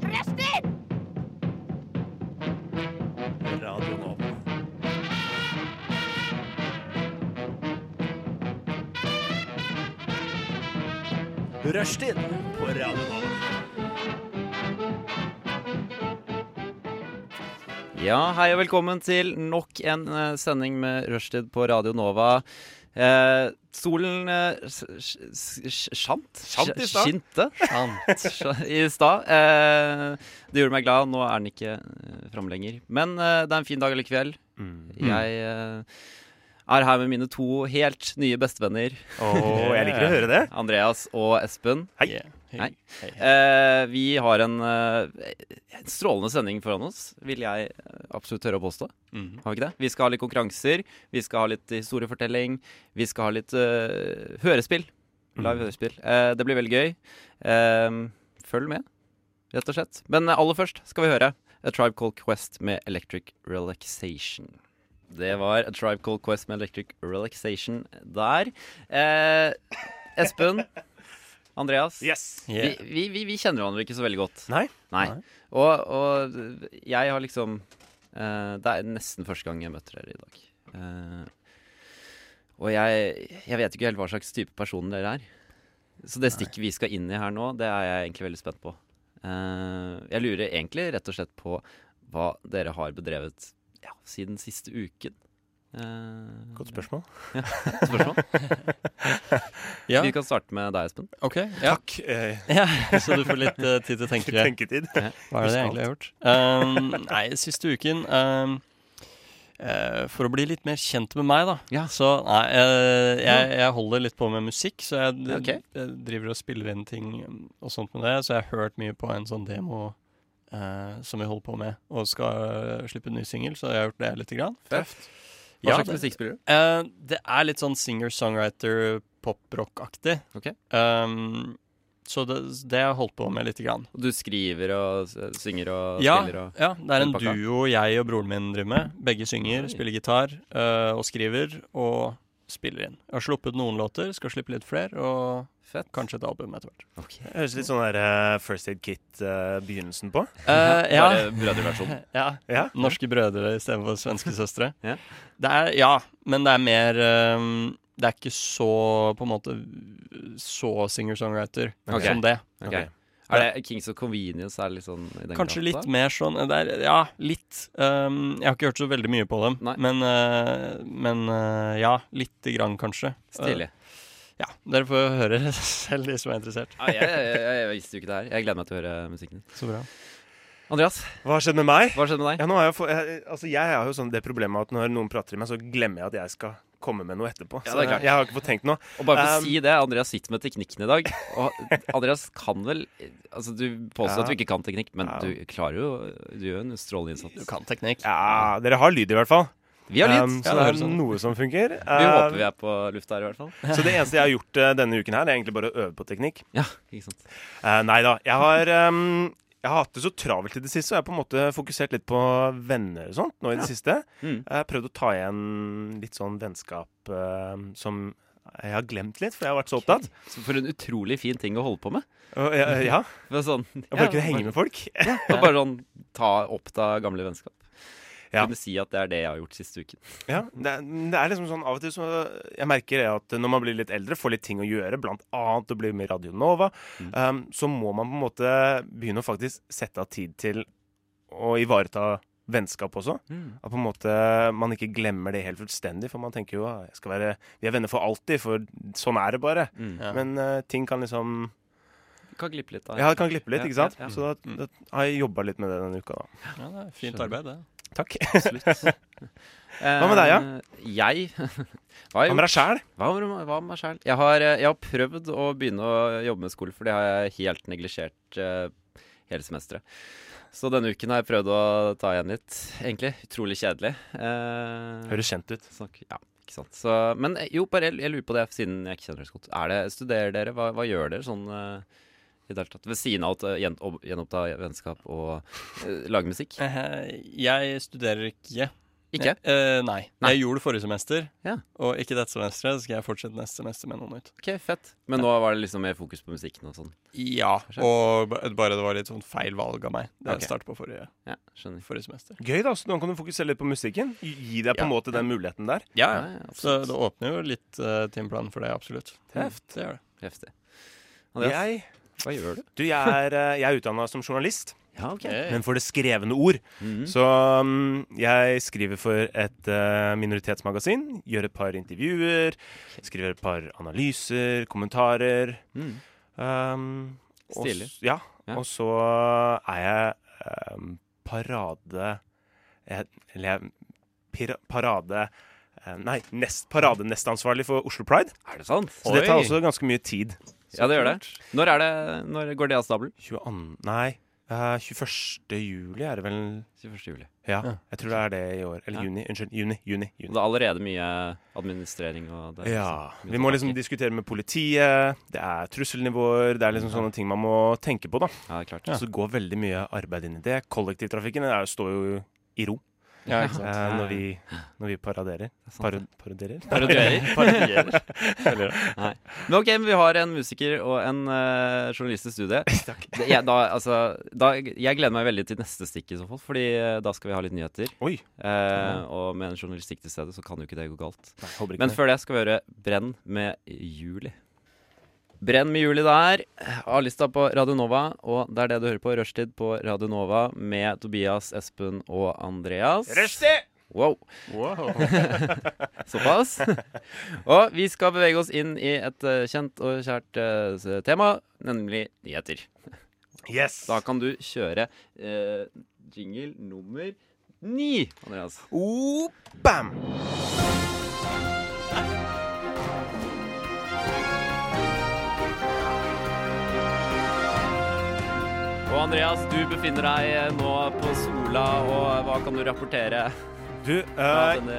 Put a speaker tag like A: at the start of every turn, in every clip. A: Prester!
B: Radio Nova. Rushtid på Radio Nova.
C: Ja, hei og velkommen til nok en eh, sending med Rushtid på Radio Nova. Eh, solen eh, s- s- s- skjant?
B: Skjant i stad.
C: Skinte? Skjant sj- i stad. Eh, det gjorde meg glad. Nå er den ikke eh, framme lenger. Men eh, det er en fin dag allikevel.
B: Mm.
C: Jeg eh, er her med mine to helt nye bestevenner.
B: jeg liker å høre det.
C: Andreas og Espen.
B: Hei.
C: Hei. Eh, vi har en eh, en strålende sending foran oss, vil jeg eh, absolutt tørre å påstå. Har vi ikke det? Vi skal ha litt konkurranser, vi skal ha litt historiefortelling, vi skal ha litt eh, hørespill. Live hørespill. Eh, det blir veldig gøy. Eh, følg med, rett og slett. Men eh, aller først skal vi høre A Tribe Called Quest med Electric Relaxation. Det var A Tribe Called Quest med Electric Relaxation der. Eh, Espen, Andreas.
B: Yes.
C: Vi, vi, vi, vi kjenner hverandre ikke så veldig godt.
B: Nei.
C: Nei. Og, og jeg har liksom eh, Det er nesten første gang jeg møter dere i dag. Eh, og jeg, jeg vet ikke helt hva slags type person dere er. Så det stikket vi skal inn i her nå, det er jeg egentlig veldig spent på. Eh, jeg lurer egentlig rett og slett på hva dere har bedrevet ja, siden siste uken. Eh,
B: Godt spørsmål.
C: spørsmål.
D: Ja,
C: Vi kan starte med deg, Espen.
D: ok. Ja.
B: Takk. Eh,
D: ja, Så du får litt eh, tid til å tenke deg
B: tenketid.
D: hva er det jeg
B: husk
D: egentlig har gjort. Um, nei, siste uken um, eh, For å bli litt mer kjent med meg, da.
C: Ja.
D: Så nei, eh, jeg, jeg holder litt på med musikk, så jeg, d-
C: Ok.
D: jeg driver og spiller inn ting mm, og sånt med det. Så jeg har hørt mye på en sånn demo eh, som vi holder på med, og skal eh, slippe en ny singel, så jeg har gjort det lite grann.
C: Hva
D: Ja,
C: slags
D: det-
C: musikk spiller du?
D: Eh, det er litt sånn singer-songwriter, pop-rock-aktig.
C: Ok.
D: Um, så det, det har jeg holdt på med lite grann.
C: Du skriver og s- synger og
D: Ja,
C: spiller og
D: ja, det er en
C: Hele pakka.
D: duo jeg og broren min driver med. Begge synger,
C: Oi.
D: spiller gitar eh, og skriver og spiller inn. Jeg har sluppet noen låter, skal slippe litt flere, og
C: Fett.
D: kanskje et album etter hvert.
B: Det Høres litt sånn der eh, First Aid Kit-begynnelsen på.
D: Eh, ja,
C: Bare brødreversjon.
D: ja.
B: Ja.
D: Norske brødre istedenfor svenske søstre.
C: Ja.
D: Det er, ja, men det er mer ehm, Det er ikke så på en måte så singer-songwriter
C: Ok.
D: som det.
C: Ok.
B: Ok.
C: Er det Kings of Convenience er litt sånn i den
D: Kanskje
C: grata?
D: litt mer sånn det er, Ja, litt. Ehm, jeg har ikke hørt så veldig mye på dem.
C: Nei.
D: Men, eh, men eh, ja, lite grann, kanskje.
C: Stilig.
D: Eh, ja, Dere får høre selv, de som er interessert.
C: Ja, jeg, jeg, jeg, jeg visste jo ikke det her. Jeg gleder meg til å høre musikken din.
D: Så bra.
C: Andreas,
B: Hva har skjedd med meg?
C: hva skjedde med deg?
B: Ja, nå har jeg, få- jeg, altså, jeg har jo sånn det problemet at når noen prater til meg, så glemmer jeg at jeg skal komme med noe etterpå.
C: Ja,
B: Så
C: det er klart.
B: jeg, jeg har ikke fått tenkt noe.
C: Og bare for å
B: Um,
C: si det, Andreas sitter med teknikken i dag. Og Andreas kan vel Altså, du påstår
B: Ja.
C: at du ikke kan teknikk, men
B: Ja.
C: du klarer jo Du gjør en strålende
D: Du
C: innsats.
D: kan teknikk.
B: Ja, dere har lyd i hvert fall.
C: Vi har
B: Um, så
C: lyd.
D: det
B: det er um,
D: høres sånn ut.
B: noe som funker. Ehm,
C: Vi håper vi er på lufta her, i hvert fall.
B: Så det eneste jeg har gjort eh, denne uken her, er egentlig bare å øve på teknikk.
C: Ja, ikke sant.
B: Eh, nei da. Jeg har, ehm, jeg har hatt det så travelt i det siste, og jeg har på en måte fokusert litt på venner og sånt nå i det siste.
C: Mm.
B: Jeg har prøvd å ta igjen litt sånn vennskap ehm, som jeg har glemt litt, for jeg har vært så opptatt.
C: Så for en utrolig fin ting å holde på med.
B: Og, jeg- ja,
C: For sånn,
B: jeg bare kunne henge med folk.
C: Og bare sånn ta, oppta gamle vennskap.
B: Ja.
C: Kunne si at det er det jeg har gjort siste uken.
B: Ja, det, er- det er liksom sånn av og til så Jeg merker det at når man blir litt eldre, får litt ting å gjøre, blant annet å bli med i Radio Nova, um, så må man på en måte begynne å faktisk sette av tid til å ivareta vennskap også.
C: Mm.
B: At på en måte man ikke glemmer det helt fullstendig, for man tenker jo «Ah, jeg skal være, vi er venner for alltid, for sånn er det bare.
C: Mm.
D: Ja.
B: Men eh, ting kan liksom
C: Kan glippe litt av
B: Ja, det kan glippe litt,
C: Ja,
B: ikke sant?
C: ja, ja.
B: Så da, da har jeg jobba litt med det denne uka, da.
D: Ja, det er fint
C: Skjønner.
D: arbeid, det.
B: Takk.
C: Absolutt. Hva
B: med deg, ja?
C: Eh, Jeg hva har
B: Hva
C: jeg
B: med
C: gjort?
B: deg sjæl?
C: Hva med, hva med meg sjæl? Jeg, har, eh, jeg har prøvd å begynne å jobbe med skole, for det har jeg helt neglisjert eh, hele semesteret. Så denne uken har jeg prøvd å ta igjen litt, egentlig. Utrolig kjedelig. Eh,
B: Høres kjent ut.
C: snakk- ja, ikke sant. Så, men eh, jo, bare jeg, jeg lurer på det, siden jeg ikke kjenner dere så godt. Er det, studerer dere? Hva, hva gjør dere sånn eh, i det hele tatt? Ved siden av å gjen- å gjenoppta vennskap og eh, lage musikk?
D: Eh, jeg studerer ikke.
C: Ikke?
D: Eh, nei.
C: Nei.
D: Jeg gjorde det forrige semester,
C: Ja.
D: og ikke dette semesteret. Så skal jeg fortsette neste semester med noe nytt.
C: Ok, fett. Men nå var det liksom mer fokus på musikken og sånn.
D: Ja, og ba- bare det var litt sånn feil valg av meg. Det
C: Ok.
D: jeg startet på forrige,
C: Ja, skjønner.
D: forrige semester.
B: Gøy, da. Så nå kan du fokusere litt på musikken. Gi- Gi deg på en
D: Ja.
B: måte den muligheten der.
D: Ja,
C: Ja, ja,
D: Så
C: absolutt.
D: det åpner jo litt eh, timeplanen for det, absolutt.
B: Tøft.
D: Det gjør det.
C: Heftig. Andreas,
B: Jeg,
C: hva gjør du?
B: du, jeg er, eh, jeg er utdanna som journalist,
C: Ja, ok.
B: men for det skrevne ord.
C: Mhm.
B: Så um, jeg skriver for et eh, minoritetsmagasin. Gjør et par intervjuer. Skriver et par analyser, kommentarer.
C: Mhm.
B: Um, og
C: Stilig.
B: s- Ja,
C: Ja.
B: og så eh, er jeg um, parade jeg, Eller jeg pira, parade eh, Nei, nest, paradenestansvarlig for Oslo Pride.
C: Er det sant?
B: Så det tar
D: Oi.
B: også ganske mye tid.
C: Ja, det gjør det. Når, er det, når går det av stabelen?
B: 22. Nei, eh, 21. juli er det vel
C: 21. juli.
B: Ja,
D: Ja.
B: jeg tror det er det i år. Eller
C: Ja.
B: juni. Unnskyld. Juni. juni,
C: Og
B: juni.
C: det er allerede mye administrering og det er
B: Ja.
C: liksom mye
B: Vi må
C: å ta
B: liksom
C: tak i.
B: diskutere med politiet. Det er trusselnivåer. Det er liksom sånne ting man må tenke på, da.
C: Ja, det er klart.
B: Så det går veldig mye arbeid inn i det. Kollektivtrafikken er, står jo i ro
D: Ja, ikke sant.
B: eh, når, vi, når vi paraderer.
C: Det er sant,
B: Paro
C: det.
B: paroderer?
C: Parodierer.
B: Parodierer. Veldig bra.
C: Men ok, men vi har en musiker og en eh, journalist i studiet. Det- Jeg, da, altså, da, jeg gleder meg veldig til neste stikk i så fall, fordi eh, da skal vi ha litt nyheter.
B: Oi.
C: Eh, og med en journalistikk til stede så kan jo ikke det gå galt.
B: Nei, håper ikke
C: Men
B: det.
C: før det skal vi høre Brenn med Juli. Brenn med juli der. eh, A-lista på Radio Nova, og det er det du hører på. Rushtid på Radio Nova med Tobias, Espen og Andreas. Wow. Såpass. Og vi skal bevege oss inn i et eh, kjent og kjært eh, s- tema, nemlig nyheter.
B: Yes!
C: Da kan du kjøre eh, jingle nummer ni, Andreas.
B: Oh, bam!
C: Og Andreas, du befinner deg eh, nå på Sola, og hva kan du rapportere
B: Du,
C: fra
B: eh,
C: denne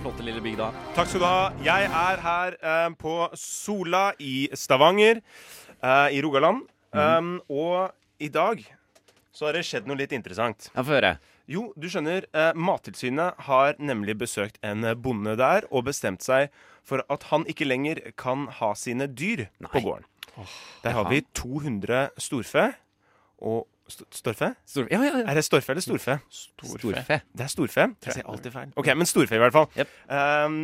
C: flotte lille bygda?
B: takk skal du ha. Jeg er her eh, på Sola i Stavanger eh, i Rogaland. Um, og i dag så har det skjedd noe litt interessant.
C: Ja, Få høre.
B: Jo, du skjønner, eh, Mattilsynet har nemlig besøkt en bonde der og bestemt seg for at han ikke lenger kan ha sine dyr på gården. Der har vi 200 storfe og st Storfe?
C: Stor, ja, ja, ja.
B: Er det storfe eller storfe?
C: Storfe.
B: Det er storfe. Jeg sier alltid feil. Ok, Men storfe, i hvert fall.
C: Jep.
B: Ehm,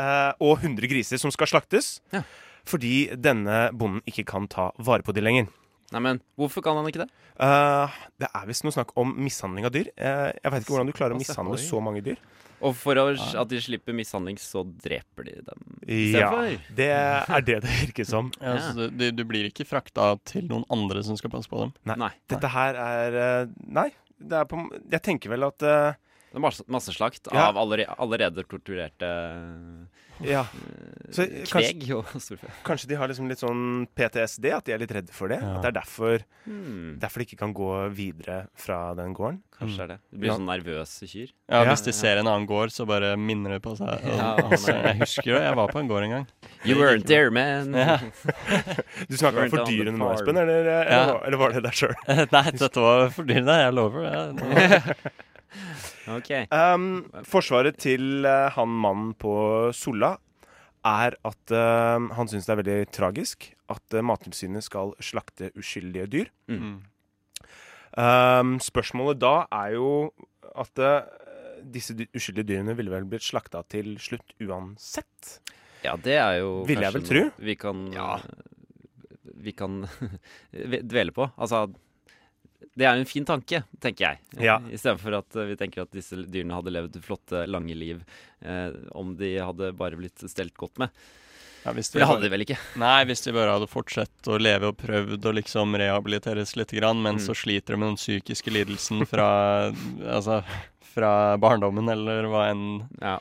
B: eh, og 100 griser som skal slaktes.
C: Ja.
B: Fordi denne bonden ikke kan ta vare på de lenger.
C: Neimen, hvorfor kan han ikke det?
B: Eh, det er visst noe snakk om mishandling av dyr. Eh, jeg veit ikke hvordan du klarer å
C: Såpass, ja.
B: mishandle
C: Oi.
B: så mange dyr.
C: Og for å, at de slipper mishandling, så dreper de dem.
B: Ja,
C: Istedenfor?
B: det er det det virker som.
D: Ja, så du, du- du blir ikke frakta til noen andre som skal passe på dem.
B: Nei.
C: Nei.
B: Dette her er eh, Nei. Det er på, jeg tenker vel at eh,
C: Det er masse, masseslakt
B: Ja.
C: av allerede, allerede torturerte
B: Ja. Så
C: eh,
B: kanskje,
C: kveg og storfe.
B: kanskje de har liksom litt sånn PTSD, at de er litt redde for det.
D: Ja.
B: At det er derfor,
C: Hmm,
B: derfor de ikke kan gå videre fra den gården. Mm.
C: kanskje det er det. Det blir
B: Ja.
C: sånn nervøse kyr.
D: Ja,
B: Ja.
D: Hvis de ser en annen gård, så bare minner det på seg. Og,
C: Ja,
D: altså,
C: nei.
D: jeg husker det, jeg var på en gård en gang.
C: You weren't there, man.
D: Ja.
B: Du snakker om
C: Burnt
B: for
C: down the
B: dyrene nå,
C: farm.
B: Espen, eller, eh, eller,
D: Ja.
B: var- eller var det deg sjøl?
D: Nei, dette var fordyrende, jeg lover
C: Ok.
D: det.
B: Um, forsvaret til eh, han mannen på Solla er at eh, han syns det er veldig tragisk at eh, Mattilsynet skal slakte uskyldige dyr.
D: Mm.
B: Um, spørsmålet da er jo at eh, disse dy- uskyldige dyrene ville vel blitt slakta til slutt uansett.
C: Ja, det er jo
B: Ville jeg
C: kanskje
B: vel
C: noe Vi kan,
D: Ja.
C: vi kan dvele på. Altså, det er jo en fin tanke, tenker jeg.
B: Ja.
C: Istedenfor at eh, vi tenker at disse dyrene hadde levd flotte, lange liv eh, om de hadde bare blitt stelt godt med.
D: Ja, hvis
C: For det hadde de vel ikke?
D: Nei, hvis de bare hadde fortsett å leve og prøvd å liksom rehabiliteres litt, grann, men
C: Mm.
D: så sliter de med den psykiske lidelsen fra, altså, fra barndommen eller hva enn,
C: Ja.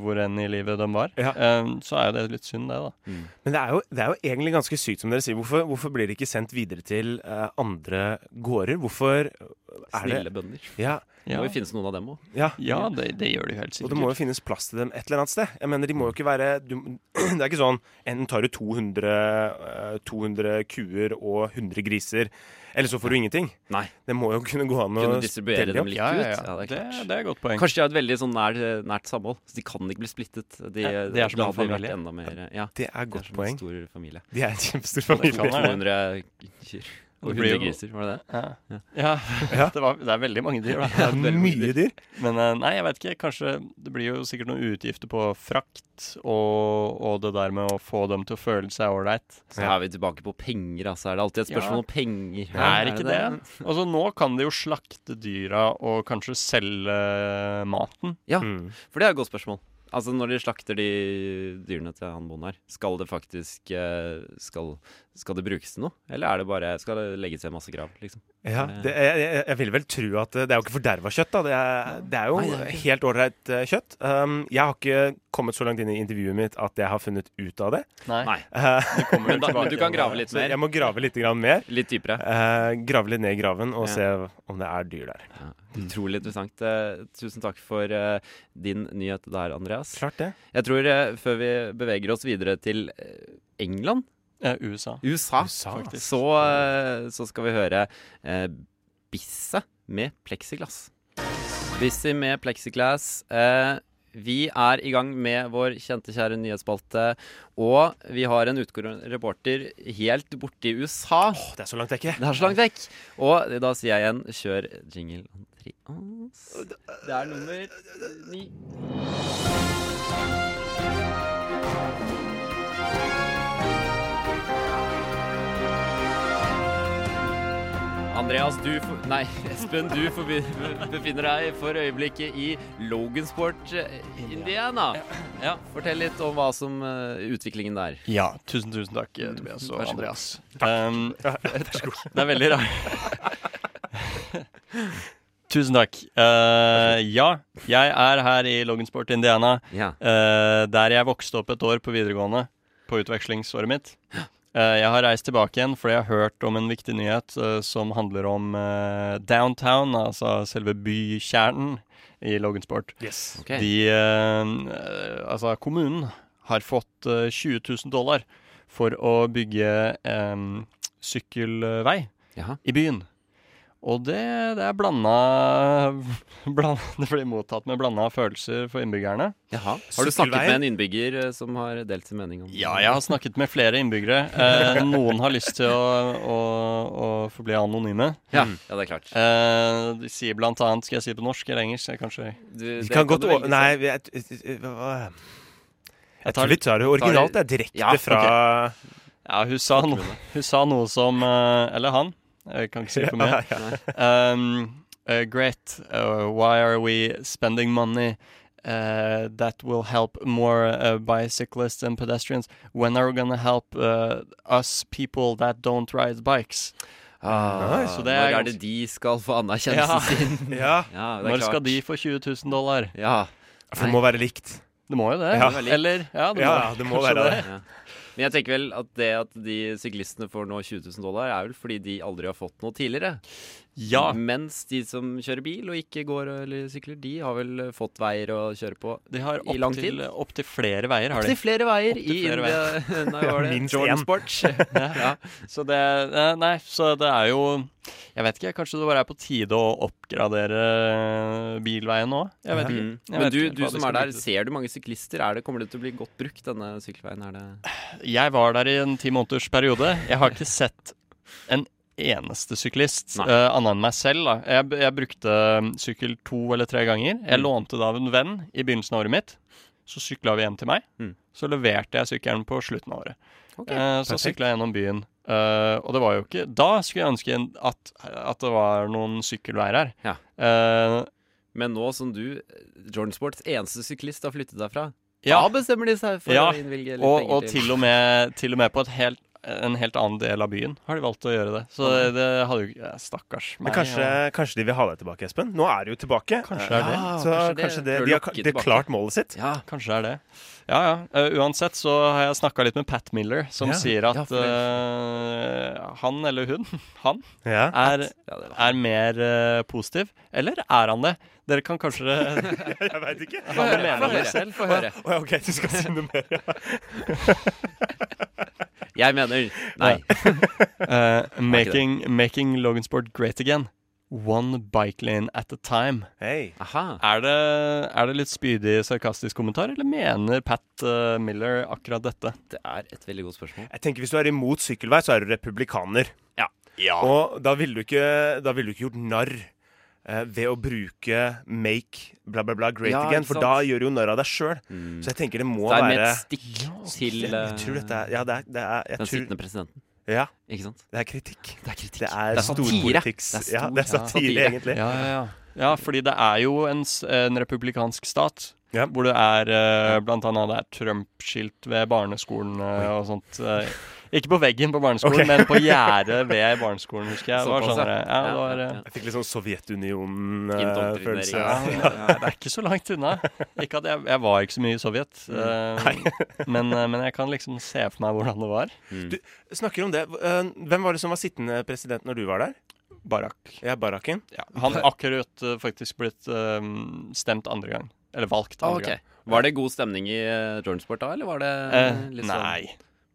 D: hvor enn i livet de var,
B: Ja.
D: eh, så er jo det litt synd, det, da.
C: Mm.
B: Men det er, jo, det er jo egentlig ganske sykt, som dere sier. Hvorfor, hvorfor blir det ikke sendt videre til eh, andre gårder? Hvorfor er det
C: Snille bønder.
B: ja,
C: Det
D: Ja,
C: må jo finnes noen av dem òg.
B: ja.
D: ja det, det gjør de jo helt
B: Og det må jo
D: sikkert.
B: finnes plass til dem et eller annet sted. Jeg mener, de må jo ikke være du, Det er ikke sånn enten tar du 200, eh, 200 kuer og 100 griser, eller så får du ingenting.
C: Nei.
B: Det må jo kunne gå an å
C: Kunne distribuere
B: dele
C: dem
B: opp.
C: litt
D: Ja, ja,
C: ut.
D: ja.
C: Ja, det er
D: Det,
C: klart.
D: det er et godt poeng.
C: Kanskje de har et veldig sånn nær, nært samhold, så de kan ikke bli splittet. De,
D: Ja, de er som
C: da
D: en
C: hadde de vært
D: familie.
C: Enda mer, ja,
B: Det er
C: de er
B: godt
C: som
B: poeng.
C: En stor familie.
B: De er en kjempestor
D: Det kan
B: familie.
D: være.
C: 200 kyr og
D: Det blir
C: 100
D: jo-
C: griser, var det det?
D: Ja,
C: Ja.
D: ja.
B: Ja.
D: Det, var, det er veldig mange dyr, da.
B: Det er mye dyr.
D: Men eh, nei, jeg vet ikke. Kanskje det blir jo sikkert noen utgifter på frakt og, og det der med å få dem til å føle seg ålreit.
C: Så
B: Ja.
C: er vi tilbake på penger, altså. Er det alltid et spørsmål
D: Ja.
C: om penger?
D: Ja, er ikke Altså, nå kan de jo slakte dyra og kanskje selge eh, maten.
C: Ja,
B: Mm.
C: for det er et godt spørsmål. Altså Når de slakter de dyrene til han bonden her, skal det faktisk eh, Skal, skal det brukes til noe? Eller er det bare skal det legges i en masse grav? liksom?
B: Ja, det, jeg, jeg, jeg vil vel tro at eh, det er jo ikke forderva kjøtt, da. Det er, det er jo
C: Nei, det er ikke.
B: helt ålreit eh, kjøtt. Um, jeg har ikke kommet så langt inn i intervjuet mitt at jeg har funnet ut av det.
C: Nei.
B: Eh,
C: Men, da, men du kan grave litt
B: så
C: mer.
B: jeg må grave litt grann mer.
C: Litt dypere.
B: Eh, grave litt ned i graven og
C: Ja.
B: se om det er dyr der.
C: Ja, utrolig interessant. Eh, tusen takk for eh, din nyhet der, Andreas.
B: Klart det.
C: Jeg tror eh, før vi beveger oss videre til eh, England,
D: Eh, USA.
C: USA,
B: USA.
D: Faktisk.
C: så, eh, så skal vi høre eh, Bisse med pleksiglass. Busy med pleksiglass. Eh, vi er i gang med vår kjente, kjære nyhetsspalte. Og vi har en utgående reporter helt borte i USA.
B: Åh, det er så langt jeg ikke.
C: Det er så langt vekk. Og da sier jeg igjen, kjør jingle Andreas. Det er nummer ni. Andreas, du får- Nei, Espen, du forbi- befinner deg for øyeblikket i Logansport, eh, Indiana. Ja, fortell litt om hva som eh, utviklingen der.
D: Ja, tusen, tusen takk, eh, Tobias og
C: Vær så god.
D: Andreas. Um, det er veldig rart. tusen takk. Eh, ja, jeg er her i Logansport, Indiana.
C: Ja.
D: Eh, der jeg vokste opp et år på videregående, på utvekslingsåret mitt. Eh, jeg har reist tilbake igjen fordi jeg har hørt om en viktig nyhet eh, som handler om eh, downtown, altså selve bykjernen i Logansport.
B: Yes.
C: ok.
D: De, eh, eh, altså kommunen har fått eh, 20 000 dollar for å bygge em, sykkelvei
C: Jaha.
D: i byen. Og det, det er blanda, blanda Det blir mottatt med blanda følelser for innbyggerne.
C: Jaha. Har du snakket med en innbygger eh, som har delt sin mening om
D: Ja, jeg har snakket med flere innbyggere. Eh, noen har lyst til å, å, å forbli anonyme.
C: Ja, ja, det er klart.
D: Eh, de sier blant annet Skal jeg si det på norsk eller engelsk? Jeg, kanskje,
C: Du,
B: Vi
C: det
B: kan godt
C: du
B: å...
C: velge
B: Nei, vi er... hva- Jeg
D: tar-
B: tror vi tar det originalt. Det er direkte
C: Ja, ok.
B: fra
D: ja, hun sa, no, hun sa noe som eh, Eller han. Jeg kan ikke si for mye.
C: selv. Nei.
D: Um, uh, great. Uh, why are we spending money uh, that will help more uh, bicyclists and pedestrians? When are we gonna help uh, us people that don't ride bikes?
C: Ah,
D: Så det er
C: når er
D: ganske-
C: det de skal få anerkjennelsen
D: Ja.
C: sin?
B: Ja,
C: Ja, det er
D: Når skal
C: klart.
D: de få 20 000 dollar?
C: Ja.
B: for det må være likt.
D: Det må jo det.
B: Ja.
D: Eller Ja, det må,
B: Ja, det må
D: kanskje
B: være det.
C: ja. Men jeg tenker vel at det at de syklistene får nå 20 000 dollar, er vel fordi de aldri har fått noe tidligere.
D: Ja,
C: Mens de som kjører bil og ikke går eller sykler, de har vel fått veier å kjøre på.
D: de har
C: I lang
D: opp til,
C: tid.
D: opp til flere veier. har de
C: Opptil flere veier i
D: Opptil flere
C: India. Nei, hva var det?
B: Minst
C: Jordan
B: én.
C: Sports. ja.
D: Så det, eh, nei, så det er jo Jeg vet ikke, kanskje det bare er på tide å oppgradere bilveien nå? Jeg vet ikke.
C: Mm.
D: Jeg
C: Men
D: vet
C: du,
D: ikke helt
C: du
D: hva de
C: som
D: skal
C: er der,
D: bruke det
C: ser du mange syklister? Er det, kommer det til å bli godt brukt, denne sykkelveien? Er det
D: Jeg var der i en ti måneders periode. Jeg har ikke sett en eneste syklist
C: Nei.
D: eh, annet enn meg selv. Da. Jeg, b- jeg brukte mm, sykkel to eller tre ganger. Jeg
C: Mm.
D: lånte det av en venn i begynnelsen av året mitt. Så sykla vi hjem til meg.
C: Mm.
D: Så leverte jeg sykkelen på slutten av året.
C: Ok,
D: Eh, så
B: perfekt.
D: sykla jeg gjennom byen. Eh, og det var jo ikke Da skulle jeg ønske en- at, at det var noen sykkelveier her.
C: Ja.
D: Eh,
C: Men nå som du, eh, Jordan Sports eneste syklist, har flyttet deg fra,
D: ja.
C: da bestemmer de seg for
D: Ja,
C: å innvilge litt
D: Og,
C: penger
D: og til, og med, til og med på et helt en helt annen del av byen har de valgt å gjøre det. Så det, det hadde jo ja, Stakkars meg.
B: Men kanskje,
D: ja.
B: kanskje de vil ha deg tilbake, Espen? Nå er du jo tilbake.
D: Kanskje det er det.
B: Så kanskje, det,
C: Prøv å
B: de har
C: lokke
B: de har
C: tilbake.
B: klart målet sitt.
C: Ja,
D: Kanskje det er det. Ja ja. Eh, uansett så har jeg snakka litt med Pat Miller, som
B: Ja.
D: sier at
C: Ja, for det-
D: eh, han eller hun, han,
B: Ja.
D: er,
C: ja det
D: er mer eh, positiv. Eller er han det? Dere kan kanskje
B: Jeg veit ikke.
C: Få
D: Hva
C: høre,
D: mener
C: få
D: du
C: høre.
D: selv?
C: Få høre.
B: Å ja, OK, du skal si noe mer. ja.
C: Jeg mener Nei.
D: eh, making, making Logansport great again. One bike lane at a time.
B: Hei.
C: Aha.
D: Er det, er det litt spydig, sarkastisk kommentar, eller mener Pat eh, Miller akkurat dette?
C: Det er et veldig godt spørsmål.
B: Jeg tenker Hvis du er imot sykkelvei, så er du republikaner. Og da ville du, ikke- da ville du ikke gjort narr eh, ved å bruke make bla, bla, bla great
C: Ja,
B: again,
C: ikke
B: for
C: sant?
B: da gjør du jo narr av deg sjøl.
C: Mm.
B: Så jeg tenker det må
C: Det er med
B: være
C: et stikk til
B: jeg,
C: eh,
B: tror dette er, Ja, det er, det er jeg
C: den
B: tror,
C: sittende presidenten.
B: Ja,
C: Ikke sant?
B: det er kritikk.
C: Det er kritikk.
B: Det er,
C: Det er satire.
B: storpolitikks.
C: Det er
B: ja, det er
C: stor-
B: satire,
C: satire.
B: egentlig.
D: Ja, ja, ja. ja, fordi det er jo en, s- en republikansk stat.
B: Ja.
D: Hvor det er eh, blant annet det er Trump-skilt ved barneskolen eh, og sånt. eh, ikke på veggen på barneskolen,
B: Ok.
D: men på gjerdet ved barneskolen, husker jeg. Det var
C: Såpass,
D: sånn,
C: ja.
D: eh, ja, det, var,
C: Ja,
D: eh,
C: ja,
B: Jeg fikk litt sånn eh, Sovjetunionen-følelse.
C: Indoktrinering.
D: ja,
B: ja.
D: ja, det er ikke så langt unna. Ikke at jeg, jeg var ikke så mye i Sovjet, eh, men, eh, men jeg kan liksom se for meg hvordan det var.
C: Mm.
B: Du snakker om det. Eh, Hvem var det som var sittende president når du var der?
D: Barak.
B: Ja, Baraken.
D: Ja, han har akkurat eh, faktisk blitt eh, stemt andre gang. Eller valgt
C: Ah,
D: andre
C: ok.
D: gang.
C: Var det god stemning i eh, Jordansport da, eller var det eh,
D: Eh,
C: litt sånn
D: nei.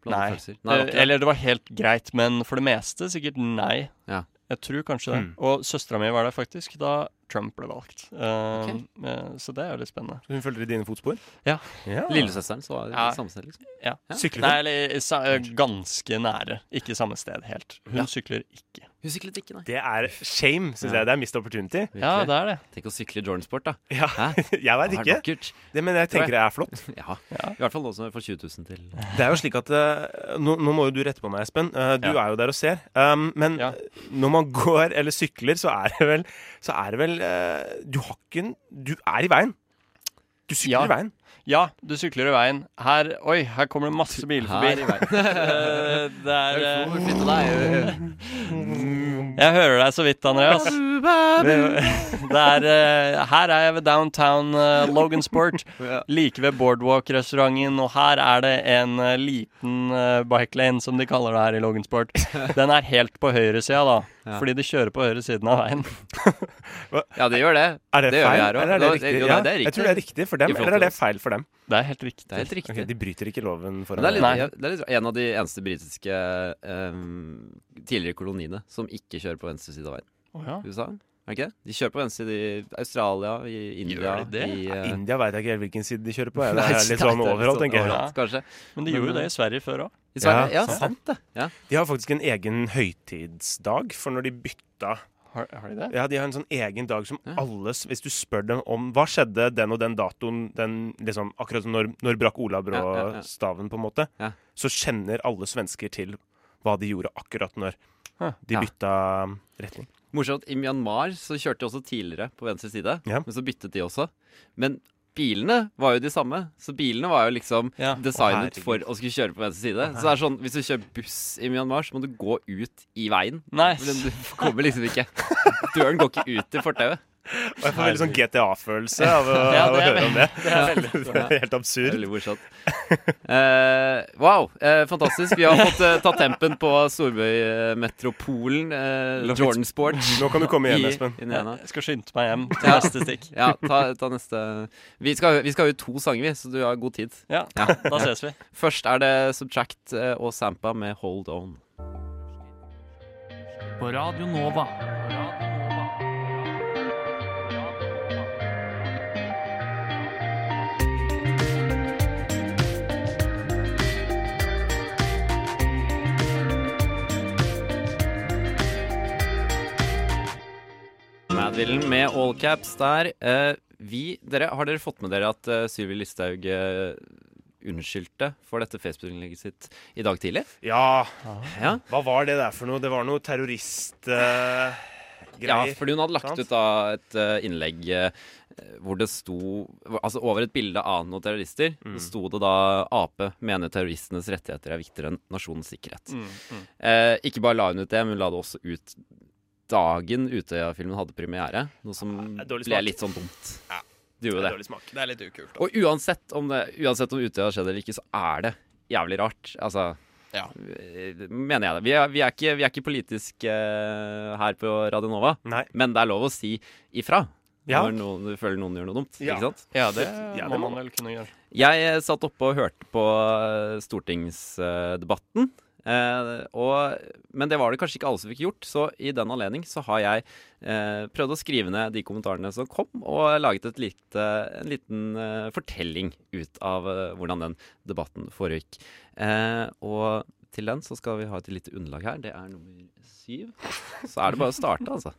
C: blandede
D: nei.
C: følelser? Nei, det var
D: Eh,
C: ikke det.
D: Eller det var helt greit, men for det meste sikkert nei.
C: Ja.
D: Jeg tror kanskje det.
B: Mm.
D: Og søstera mi var der faktisk da Trump ble valgt. Eh,
C: Ok.
D: eh, så det er jo litt spennende.
B: Hun følger i dine fotspor?
D: Ja.
B: ja.
C: Lillesøsteren, så var det
D: Ja.
C: samme sted, liksom. Ja.
B: Sykler
D: Nei,
B: du?
D: eller eh, sa, eh, ganske nære. Ikke samme sted helt. Hun
C: Ja.
D: sykler ikke.
C: Hun syklet ikke, nei.
B: Det er shame, syns
C: Ja.
B: jeg. Det er missed opportunity.
D: Ja, det er det.
C: Tenk å sykle i Jordansport, da.
B: Ja,
C: Hæ?
B: jeg veit
C: Det er
B: ikke.
C: vakkert.
B: Det, men jeg tenker det er flott.
C: Ja.
D: Ja.
C: I hvert fall nå som jeg får 20 000 til.
B: Det er jo slik at eh, Nå, nå må jo du rette på meg, Espen. Eh, du
D: Ja.
B: er jo der og ser. Um, men
D: Ja.
B: når man går eller sykler, så er det vel, så er det vel eh, Du har ikke en Du er i veien. Du sykler
D: Ja.
B: i veien.
D: Ja, du sykler i veien. Her Oi, her kommer det masse biler forbi.
C: Her i verden.
D: Eh, det er eh,
C: Hvor flyttet deg?
D: Jeg hører deg så vidt, Andreas. Det er, eh, her er jeg ved downtown eh, Logansport,
C: Ja.
D: like ved Boardwalk-restauranten, og her er det en eh, liten eh, bike lane, som de kaller det her i Logansport. Den er helt på høyresida, da,
C: Ja.
D: fordi de kjører på høyre siden av veien.
C: Ja, det gjør det.
B: Er det,
C: Det gjør
B: feil?
C: jeg her også.
B: Eller er det
C: Ja,
B: riktig?
C: jo,
B: Ja,
C: nei, det er
B: Jeg
C: riktig.
B: tror det er riktig for dem.
C: I forhold
B: Eller er det
C: til oss.
B: feil for dem?
D: Det er helt riktig.
C: Det er helt riktig.
B: Ok, de bryter ikke loven
C: Men
B: foran
C: det er,
D: Nei.
C: litt, det er litt, en av de eneste britiske ehm, tidligere koloniene som ikke kjører på venstre side av veien.
D: Å, ja.
C: USA? Er det ikke det? De kjører på venstre side i Australia, i India
D: Gjør de det?
C: I,
B: Ja,
C: eh,
B: India veit jeg ikke helt hvilken side de kjører på. jeg.
C: Nei,
B: Det er litt sånn
C: det er
B: overalt, tenker jeg.
C: overalt, Kanskje.
D: Men de gjorde jo det i Sverige før òg.
C: I Sverige.
B: Ja,
C: Ja, sant det. Ja.
B: De har faktisk en egen høytidsdag for når de bytta
D: Har, har de det?
B: Ja, de har en sånn egen dag som
C: Ja.
B: alle s- Hvis du spør dem om hva skjedde den og den datoen den, liksom, Akkurat som når, når brakk
C: Ja, ja, ja.
B: Olabrå-staven, på en måte,
C: Ja.
B: så kjenner alle svensker til hva de gjorde akkurat når
D: Huh.
B: de
C: Ja.
B: bytta retning.
C: Morsomt, i Myanmar så kjørte de også tidligere på venstre side,
B: Ja.
C: men så byttet de også. Men bilene var jo de samme, så bilene var jo liksom
D: Ja.
B: Å,
C: designet
B: herregud.
C: for å skulle kjøre på venstre side. Så det er sånn, hvis du kjører buss i Myanmar, så må du gå ut i veien.
D: Nice.
C: Men du kommer liksom ikke. Døren går ikke ut til fortauet.
B: Og jeg får veldig sånn GTA-følelse av å,
D: Ja,
B: av å
D: det er
B: høre om det.
C: veldig-
B: Det er helt absurd.
C: Veldig morsomt. Eh, wow, eh, fantastisk. Vi har fått eh, tatt tempen på Storbøy-metropolen, eh, Jordan Sport.
B: Nå kan du komme hjem,
C: i-
B: Espen.
C: i Indiana.
D: Jeg skal skynde meg hjem til
C: Ja.
D: neste stikk.
C: Ja, ta, ta neste. Vi skal, vi skal ha ut to sanger, vi, så du har god tid.
D: Ja,
C: Ja.
D: da ses vi.
C: Først er det Subtract eh, og Sampa med Hold On.
A: På Radio Nova.
C: Madvillen med all caps der. Eh, vi, dere, har dere fått med dere at uh, Sylvi Listhaug eh, unnskyldte for dette Facebook-innlegget sitt i dag tidlig?
B: Ja,
C: Ja.
B: hva var det der for noe? Det var noe terrorist... eh,
C: Ja,
B: greier.
C: fordi hun hadde lagt
B: sant?
C: ut da et eh, innlegg eh, hvor det sto Altså over et bilde av noen-terrorister
B: Mm.
C: så sto det da Ap mener terroristenes rettigheter er viktigere enn nasjonens sikkerhet.
D: Mm, mm.
C: Eh, ikke bare la hun ut det, men hun la det også ut dagen Utøya-filmen hadde premiere. Noe som
B: det er dårlig
C: ble
B: smak.
C: litt sånn dumt.
D: Ja.
C: Det gjorde det.
B: Dårlig smak.
D: Det er litt ukult.
C: Og uansett om, det, uansett om Utøya har skjedd eller ikke, så er det jævlig rart. Altså
D: Ja.
C: eh, Mener jeg det. Vi er, vi er, ikke, vi er ikke politisk eh, her på Radio Nova,
B: Nei.
C: men det er lov å si ifra
B: Ja.
C: når noen, du føler noen gjør noe dumt.
B: Ja.
C: Ikke sant?
D: Ja, det
B: Ja, det
D: må
B: må
D: man vel kunne gjøre.
C: Jeg eh, satt oppe og hørte på eh, stortingsdebatten. Eh, og, men det var det kanskje ikke alle som fikk gjort, så i den anledning så har jeg eh, prøvd å skrive ned de kommentarene som kom, og laget et lite, en liten eh, fortelling ut av eh, hvordan den debatten foregikk. Eh, og til den så skal vi ha et lite underlag her. Det er nummer syv. Så er det bare å starte, altså.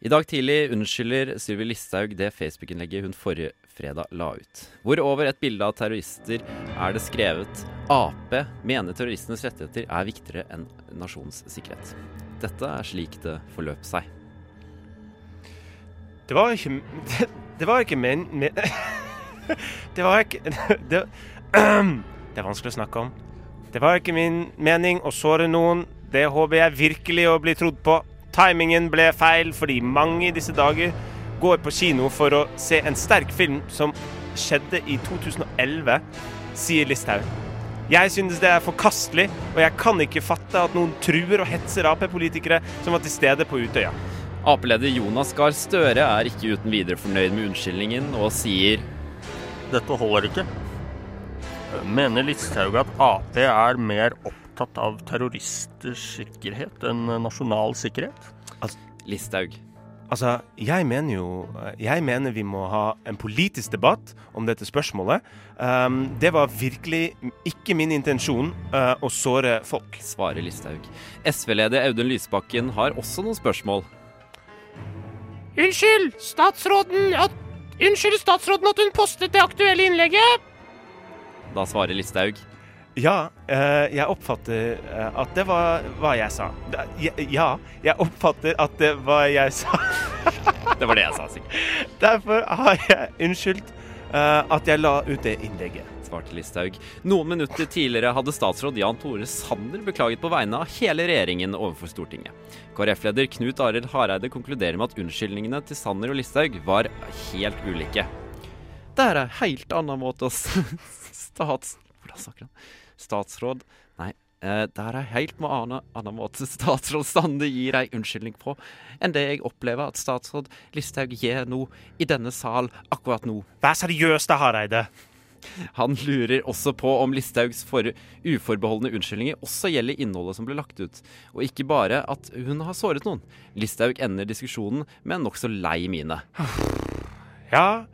C: I dag tidlig unnskylder Sylvi Listhaug det Facebook-innlegget hun forrige fredag la ut. Hvor over et bilde av terrorister er det skrevet Ap mener terroristenes rettigheter er viktigere enn nasjonens sikkerhet. Dette er slik det forløp seg.
B: Det var ikke Det, det var ikke men... men det var ikke det, det er vanskelig å snakke om. Det var ikke min mening å såre noen. Det håper jeg virkelig å bli trodd på. Timingen ble feil fordi mange i disse dager går på kino for å se en sterk film som skjedde i 2011, sier Listhaug. Jeg synes det er forkastelig, og jeg kan ikke fatte at noen truer og hetser Ap-politikere som var til stede på Utøya.
C: Ap-leder Jonas Gahr Støre er ikke uten videre fornøyd med unnskyldningen, og sier
A: Dette holder ikke. Mener Listhaug at Ap er mer opptatt av terroristers sikkerhet enn nasjonal sikkerhet?
C: Listhaug.
B: Altså, jeg mener jo Jeg mener vi må ha en politisk debatt om dette spørsmålet. Um, det var virkelig ikke min intensjon uh, å såre folk.
C: Svarer Listhaug. SV-leder Audun Lysbakken har også noen spørsmål.
E: Unnskyld, statsråden at, Unnskyld statsråden at hun postet det aktuelle innlegget.
C: Da svarer Listhaug.
B: Ja, eh, jeg oppfatter eh, at det var hva jeg sa. Da- Ja, ja, jeg oppfatter at det var jeg sa.
C: Det var det jeg sa, sikkert.
B: Derfor har jeg unnskyldt eh, at jeg la ut det innlegget.
C: svarte Listhaug. Noen minutter tidligere hadde statsråd Jan Tore Sanner beklaget på vegne av hele regjeringen overfor Stortinget. KrF-leder Knut Arild Hareide konkluderer med at unnskyldningene til Sanner og Listhaug var helt ulike. Det er en helt annen måte å s- stats... Hvordan snakker han? Statsråd Nei. eh, Det er en helt med annen, annen måte statsråd Sanner gir ei unnskyldning på, enn det jeg opplever at statsråd Listhaug gjør nå, i denne sal, akkurat nå.
B: Vær seriøs da, Hareide.
C: Han lurer også på om Listhaugs for uforbeholdne unnskyldninger også gjelder innholdet som ble lagt ut, og ikke bare at hun har såret noen. Listhaug ender diskusjonen med en nokså lei mine.
B: Ja,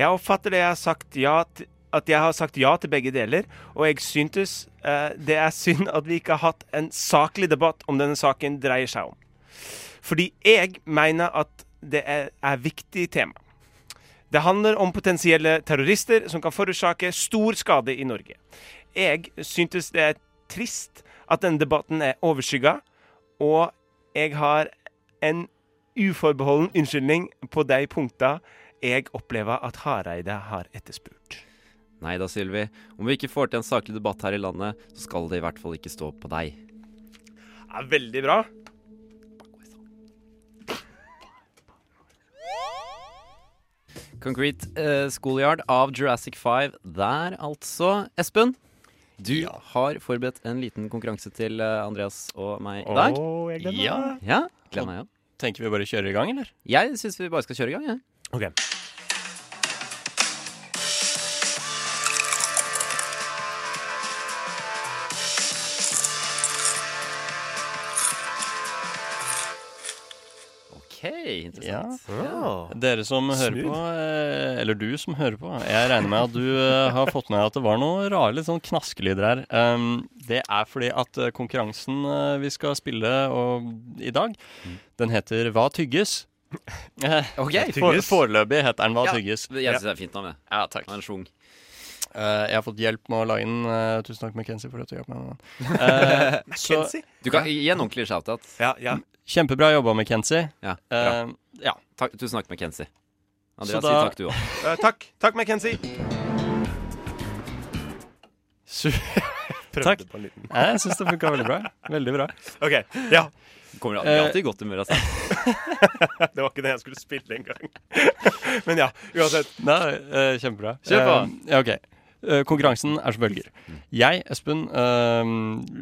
B: jeg oppfatter det jeg har sagt ja til at jeg har sagt ja til begge deler, og jeg syntes eh, det er synd at vi ikke har hatt en saklig debatt om denne saken dreier seg om. Fordi jeg mener at det er, er viktig tema. Det handler om potensielle terrorister som kan forårsake stor skade i Norge. Jeg syntes det er trist at denne debatten er overskygga, og jeg har en uforbeholden unnskyldning på de punkta jeg opplever at Hareide har etterspurt.
C: Nei da, Sylvi. Om vi ikke får til en saklig debatt her i landet, så skal det i hvert fall ikke stå på deg.
B: Ja, veldig bra.
C: Concrete eh, Schoolyard av Jurassic 5 der, altså. Espen, du har forberedt en liten konkurranse til eh, Andreas og meg i dag.
D: Ja.
C: Ja, gleder meg. Ja.
D: Tenker vi bare kjører i gang, eller?
C: Jeg syns vi bare skal kjøre i gang, jeg.
B: Ok.
C: OK, interessant.
D: Dere som hører
B: Smooth.
D: på, eh, eller du som hører på, jeg regner med at du eh, har fått med deg at det var noen rare litt sånn knaskelyder her. Um, det er fordi at eh, konkurransen eh, vi skal spille og, i dag, den heter Hva tygges? Eh,
C: Ok,
D: for, foreløpig heter den Hva
C: Ja.
D: tygges.
C: Jeg syns det er fint navn, jeg.
D: Ja, takk.
C: Det er en sjung.
D: Eh, jeg har fått hjelp med å lage den. eh, tusen takk, McKenzie, for at du hjalp meg med den. Eh, så
B: Kenzie?
C: Du kan gi en ordentlig shout-out.
B: Ja, ja.
D: kjempebra jobba, McKenzie.
C: Ja, bra.
D: Eh, Ja.
C: Takk, tusen takk, McKenzie. Andreas,
D: Så da-
C: si takk du òg.
B: Eh, takk. Takk, McKenzie.
D: Su
B: Prøvde
D: Takk.
B: på en liten
D: Nei, jeg syns det funka veldig bra. Veldig bra.
B: OK. Ja.
C: Kommer
D: Eh,
C: alltid i godt humør av seg.
B: Det var ikke det jeg skulle spille engang. Men ja, uansett.
D: Nei, eh, kjempebra.
C: Kjør på.
D: Eh, ja, ok. Eh, konkurransen er som bølger. Jeg, Espen, eh,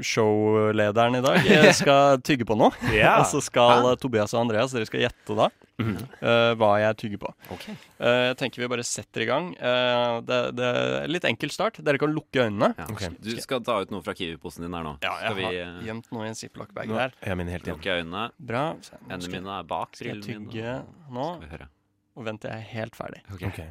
D: showlederen i dag, eh, skal tygge på noe.
B: Ja.
D: Og så skal eh, Tobias og Andreas, dere skal gjette da eh, hva jeg tygger på.
C: Ok.
D: Eh, jeg tenker vi bare setter i gang. Eh, det, det er litt enkel start. Dere kan lukke øynene.
C: Ja. Du skal ta ut noe fra Kiwi-posen din her nå.
D: Ja,
C: skal vi
D: jeg har
C: eh,
D: gjemt noe i en ziplock-bag
B: Nå
D: her.
B: er jeg min helt igjen.
C: lukke øynene?
D: Bra. Så, nå
C: Hendene
D: skal,
C: mine er bak
D: skal jeg
C: brillene mine.
D: tygge nå,
C: Skal vi høre.
D: og vent til jeg er helt ferdig.
B: Ok.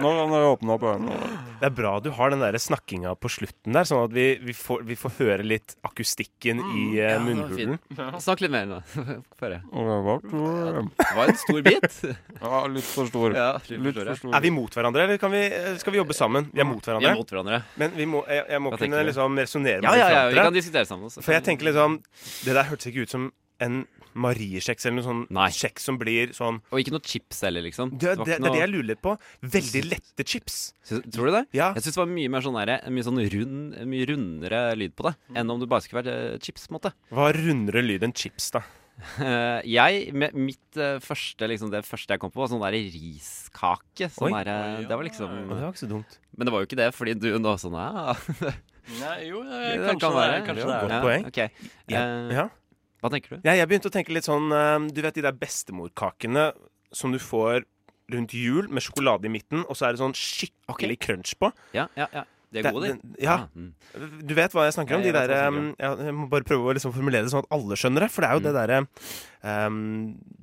D: Nå kan dere åpne opp øynene.
B: Det er bra du har den der snakkinga på slutten der, sånn at vi, vi, får, vi får høre litt akustikken i eh,
C: Ja, det var
B: munnhulen.
C: fint. Snakk litt mer nå. Få høre.
D: Ja,
C: Det var en stor bit.
D: litt for stor.
C: Ja, litt for stor.
B: Er vi mot hverandre, eller kan vi, eh, skal vi jobbe sammen? Vi er mot
C: Vi er
B: hverandre.
C: mot hverandre.
B: Men vi må, jeg, jeg må
C: Hva
B: kunne
C: tenker du?
B: liksom resonnere
C: Ja,
B: med
C: ja, ja, vi
B: hverandre.
C: kan diskutere sammen. Også.
B: For jeg tenker liksom Det der hørtes ikke ut som en Mariekjeks eller noe sånn
C: Nei.
B: kjeks som blir sånn
C: Og ikke noe chips heller, liksom.
B: det,
C: var
B: det, det
C: ikke
B: er det
C: noe-
B: jeg lurer litt på. Veldig lette chips.
C: Syns- Tror du det?
B: Ja.
C: Jeg syns det var mye mer sånn derre- mye sånn rund, mye rundere lyd på det
D: Mm.
C: enn om du bare skulle vært eh, chips, på en måte.
B: Hva er rundere lyd enn chips, da?
C: Eh, jeg, med mitt eh, første, liksom det første jeg kom på, var sånn der riskake. Sånn
B: Oi.
C: derre- det var liksom
B: var ikke så dumt.
C: Men det var jo ikke det, fordi du nå sånn ja,
D: Nei, jo, eh,
C: det kan
D: kanskje det er
C: være.
D: kanskje
B: Ja,
D: det.
B: godt.
D: er.
C: ja,
B: poeng.
C: ok. Eh,
B: Ja.
C: Hva tenker du?
B: Ja, jeg begynte å tenke litt sånn eh, Du vet de der bestemorkakene som du får rundt jul, med sjokolade i midten, og så er det sånn skikkelig crunch på.
C: Ja, ja, ja. De er gode, de.
B: Det- Ja,
C: Ah, mm.
B: Du vet hva jeg snakker om?
C: Ja, jeg
B: de der,
C: vet hva jeg
B: um, ja, jeg må bare prøve å liksom formulere det sånn at alle skjønner det. For det er jo det derre um,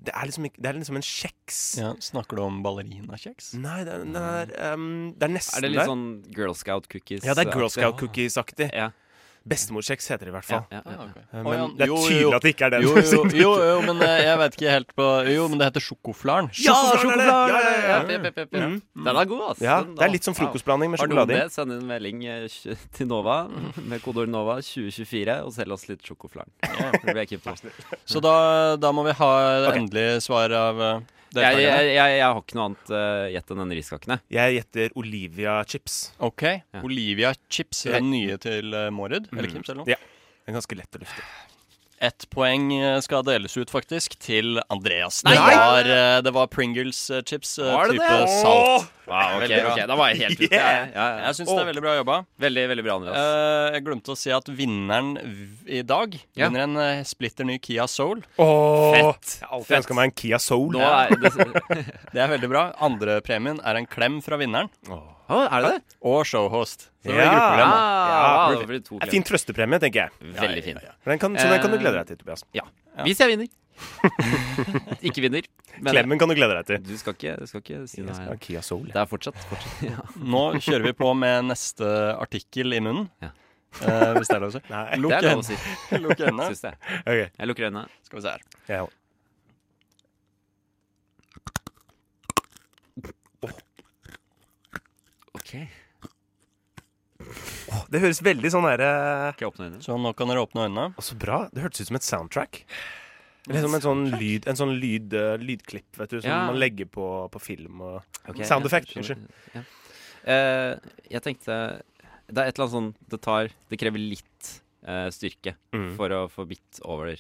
B: det, er liksom, ikke- det er liksom en kjeks.
D: Ja, snakker du om ballerinakjeks?
C: Mm.
B: Nei, det, er- det, er, um, det er nesten
C: Er det litt sånn Girl Scout cookies?
B: Ja, det er Girl
C: aktig?
B: Scout cookies-aktig.
C: Ja,
B: Bestemorkjeks heter det i hvert
C: ja,
B: fall.
C: ja, ja.
B: Eh,
D: Å,
B: Men
D: ja.
B: det er
D: Jo, jo,
B: tydelig
D: jo.
B: at det ikke er den.
D: Jo, jo, jo, jo, men eh, jeg vet ikke helt på Jo, men det heter sjokoflarn.
B: Sjokoflarn er det! Ja, ja, ja, ja.
C: Jep, jep, jep, jep. Den er god, ass.
B: Ja,
C: Den-
B: det er litt som
C: wow.
B: frokostblanding med
C: Har noen
B: sjokolade i.
C: det, send en melding eh, tj- til Nova med kodeord Nova 2024 og selg oss litt sjokoflarn. Det blir jeg keen på.
D: Så da, da må vi ha endelig svar av eh,
C: Jeg,
D: deltakerne.
C: jeg, jeg, jeg har ikke noe annet eh, gjett enn den riskakene.
B: Jeg gjetter Olivia chips.
D: Ok.
C: Ja.
D: Olivia Chips er den nye til eh, Mårud. Eller Kims, eller noe.
B: Ja. Den er ganske lett å lufte.
D: Ett poeng eh, skal deles ut, faktisk, til Andreas. Det
C: Nei!
D: var, eh, det var Pringles eh, chips, eh,
C: Var det
D: type
C: det?
D: salt.
C: Wow, ok,
D: Veldig bra.
C: ok, Da var jeg helt ute.
B: Yeah!
C: Ja, ja, ja.
D: Jeg syns det er veldig bra jobba.
C: Veldig veldig bra, Andreas.
D: Eh, jeg glemte å si at vinneren v- i dag
C: Ja.
D: vinner en eh, splitter ny Kia Soul.
B: Fett! Jeg har alltid
C: Fett.
B: ønska meg en Kia Soul.
C: Nå er det
D: Det er veldig bra. Andrepremien er en klem fra vinneren
C: Å, Er det det?
D: og showhost. Så det er
B: Ja.
D: gruppeprogram, da.
C: Ah,
B: Ja,
C: wow, det blir to
B: En fin
C: klem.
B: trøstepremie, tenker jeg.
C: Veldig fin.
B: For Den kan, så den kan du glede deg til, Tobias.
C: Ja. Hvis jeg vinner. Ikke vinner. Men
B: Klemmen kan du glede deg til.
C: du skal ikke, du skal ikke si
B: Jeg
C: noe
B: skal
C: her.
B: ha Kia Soul.
C: Det er fortsatt, fortsatt. Ja.
D: Nå kjører vi på med neste artikkel i munnen.
C: Ja.
D: Eh, hvis det er lov å si.
B: Nei.
D: Lukk
C: Det er lov å
D: øynene.
C: si,
D: Lukk øynene.
C: syns jeg.
B: Ok,
C: Jeg lukker øynene.
D: Skal vi se her.
B: jeg òg.
C: Ok,
B: Det høres veldig sånn derre
C: Skal jeg åpne øynene?
D: Så nå kan dere åpne øynene.
B: Å, Så bra. Det hørtes ut som et soundtrack. Eller som en sånn, lyd, en sånn lyd, eh, lydklipp vet du, som
C: Ja.
B: man legger på, på film. Og...
C: Ok,
B: Sound
C: ja,
B: effect,
C: skjønner. Ja. Eh, jeg tenkte Det er et eller annet sånn Det tar Det krever litt eh, styrke
B: Mm.
C: for å få bitt over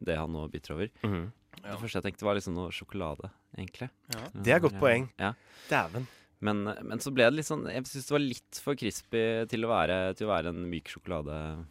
C: det han nå biter over.
B: Mhm.
C: Det første jeg tenkte, var liksom noe sjokolade, egentlig.
B: Det er godt poeng.
C: Ja.
B: Dæven.
C: Men, men så ble det litt sånn Jeg syns det var litt for crispy til å være, til å være en myk sjokolade.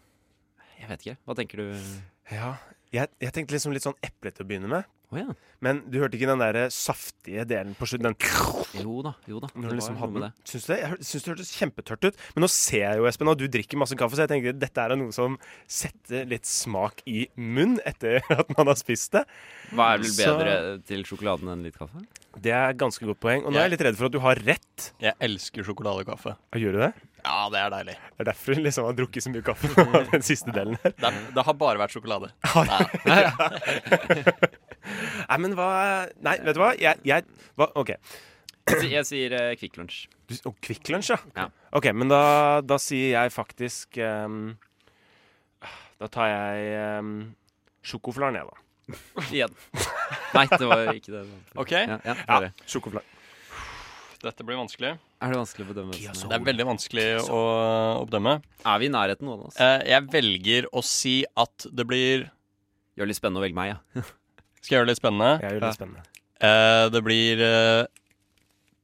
C: Jeg vet ikke. Hva tenker du? Å
B: Ja. Jeg, jeg tenkte liksom litt sånn eple til å begynne med.
C: ja.
B: Men du hørte ikke den der eh, saftige delen på slutten? Den
C: Jo da, jo da.
B: Når du liksom
C: noe
B: hadde
C: med
B: den. Syns du det? Jeg hør- syns det hørtes kjempetørt ut. Men nå ser jeg jo, Espen, at du drikker masse kaffe, så jeg tenker dette er noe som setter litt smak i munn etter at man har spist det.
C: Hva er vel
B: Så-
C: bedre til sjokoladen enn litt kaffe?
B: Det er ganske godt poeng. Og nå er jeg litt redd for at du har rett.
D: Jeg elsker sjokoladekaffe.
B: Gjør du det?
D: Ja, det er deilig.
B: Det er derfor hun liksom har drukket så mye kaffe på den siste delen her.
D: Det, er, det har bare vært sjokolade.
B: Nei, men hva Nei, vet du hva? Jeg, jeg hva? OK.
C: Jeg sier- Jeg sier eh, Kvikk Lunsj.
B: Du, og Kvikk Lunsj, ja.
C: Ja.
B: OK, men da, da sier jeg faktisk ehm, Da tar jeg um, sjokoflaren, jeg, da.
C: Igjen. Nei, det var ikke det.
D: OK,
C: Ja, ja, det var det.
B: Sjokoflaren.
D: dette blir vanskelig.
C: Er det vanskelig å bedømme?
B: Kia
C: sånn
D: Det
C: her?
D: er veldig vanskelig å å bedømme.
C: Er vi i nærheten noen av oss?
D: Eh, Jeg velger å si at det blir
C: Gjør det litt spennende å velge meg, ja.
D: Skal jeg gjøre det litt spennende?
B: Jeg gjør det spennende.
D: Eh, Det blir eh,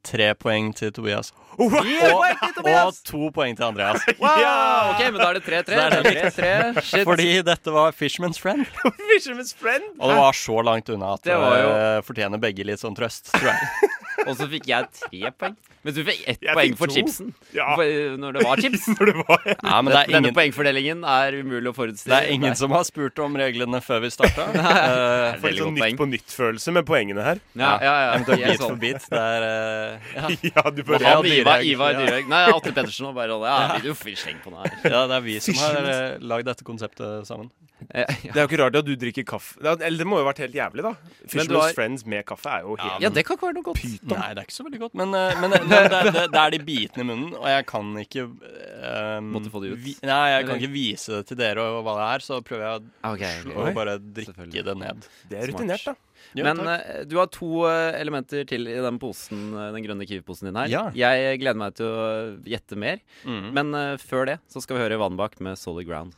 D: tre poeng til Tobias. Og, og to poeng til Andreas.
B: Ja!
C: Ok, men da er det
D: Da er
C: 3-3.
D: det
C: Det er 3-3. Shit.
D: Fordi dette var Fisherman's Friend,
B: Fisherman's friend!
D: og det var så langt unna at
C: Det var jo-
D: eh, fortjener begge litt sånn trøst, tror jeg.
C: Og så fikk jeg tre poeng. Men du fikk ett
B: Jeg
C: poeng
B: fikk
C: for
B: to.
C: chipsen.
B: Ja.
C: For, eh, når det var chips.
B: Når det var
D: Ja, men det er
C: Denne
D: ingen,
C: poengfordelingen er umulig å forutsi.
D: det er ingen som har spurt om reglene før vi starta. Eh,
C: er
B: Får litt
C: veldig
B: sånn
C: godt
B: nytt
C: poeng.
B: på nytt-følelse med poengene her.
C: Ja, ja, ja.
D: Eventuelt
C: Jeg er
D: bit for
C: sånn.
D: bit. Det er eh, ja.
B: Ja, du
D: Og
B: bør
D: han-
B: ja.
C: Ja, men Ivar, Ivar
D: Dyrhaug. Ja.
C: Dyrhaug. Nei, Atle Pettersen var bare alle. Ja, du får sleng på den her.
D: ja, det er vi som har eh, lagd dette konseptet sammen.
C: Eh,
B: Det er jo ikke rart at du drikker kaffe. Det, eller det må jo ha vært helt jævlig, da. Fisherman's
C: har-
B: Friends med kaffe er jo helt
C: Ja, det kan ikke være noe godt.
D: Nei, det er ikke så veldig godt, men, eh, men, eh, men det, det, det er de bitene i munnen, og jeg kan ikke eh,
C: Måtte få de ut.
D: Vi, nei, jeg kan
C: Eller?
D: ikke vise det til dere og hva det er, så prøver jeg å
C: Ok, ok.
D: slå, bare drikke
C: Selvfølgelig.
D: det ned.
B: Det er rutinert, da.
D: Jo,
C: Men
D: takk.
C: eh, du har to eh, elementer til i den posen, eh, den grønne kiwi-posen din her.
D: Ja.
C: Jeg gleder meg til å eh, gjette mer.
D: Mhm.
C: Men eh, før det så skal vi høre Vannbakk med Solid Ground.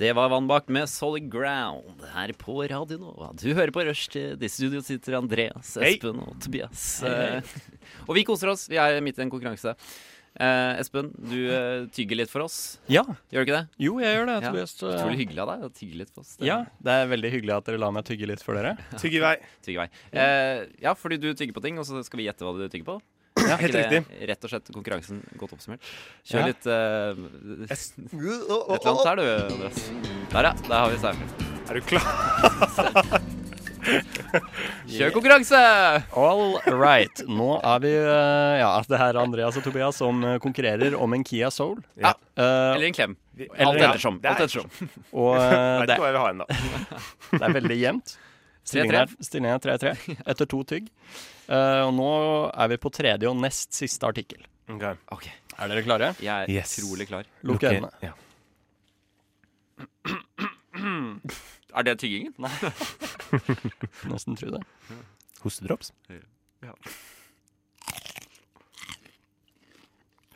C: Det var Vannbakk med Solid Ground her på Radio Nova. Du hører på Rushtid. I studio sitter Andreas,
B: Hei.
C: Espen og Tobias. Eh, og vi koser oss. Vi er midt i en konkurranse. Eh, Espen, du eh, tygger litt for oss.
D: Ja.
C: Gjør du ikke det?
D: Jo, jeg gjør det.
C: Ja,
D: Tobias.
C: Utrolig hyggelig av deg å tygge litt for oss. Det-
D: Ja, det er veldig hyggelig at dere lar meg tygge litt for dere.
B: Tygg i vei.
C: Tygge vei. Eh, ja, fordi du tygger på ting, og så skal vi gjette hva du tygger på.
B: Ja,
C: Er
B: helt
C: ikke det
B: riktig.
C: Rett og slett konkurransen godt oppsummert.
D: Ja.
C: Kjør litt eh, Et eller annet her, du, Andreas. Der, ja. Der har vi sauefjes.
B: Er du klar?
C: Kjør konkurranse!
D: All right. Nå er vi eh, Ja, det er Andreas og Tobias som eh, konkurrerer om en Kia Soul.
B: Ja.
D: Eh,
C: Eller en klem.
D: Eller-
C: Alt ettersom.
B: Ja,
C: Alt
B: det er-
C: ettersom.
D: og eh,
B: Vet
D: det,
B: ikke hva jeg vil ha ennå.
D: det er veldig jevnt. Stillingen er- Stillingen er 3-3 etter to tygg. Eh, og nå er vi på tredje og nest siste artikkel.
B: Okay.
C: Ok,
D: Er dere klare?
C: Jeg er
B: Yes.
C: utrolig klar.
D: Lukk øynene.
B: Ja.
C: Er det tyggingen? Nei.
D: Nesten tro det.
B: Hostedrops?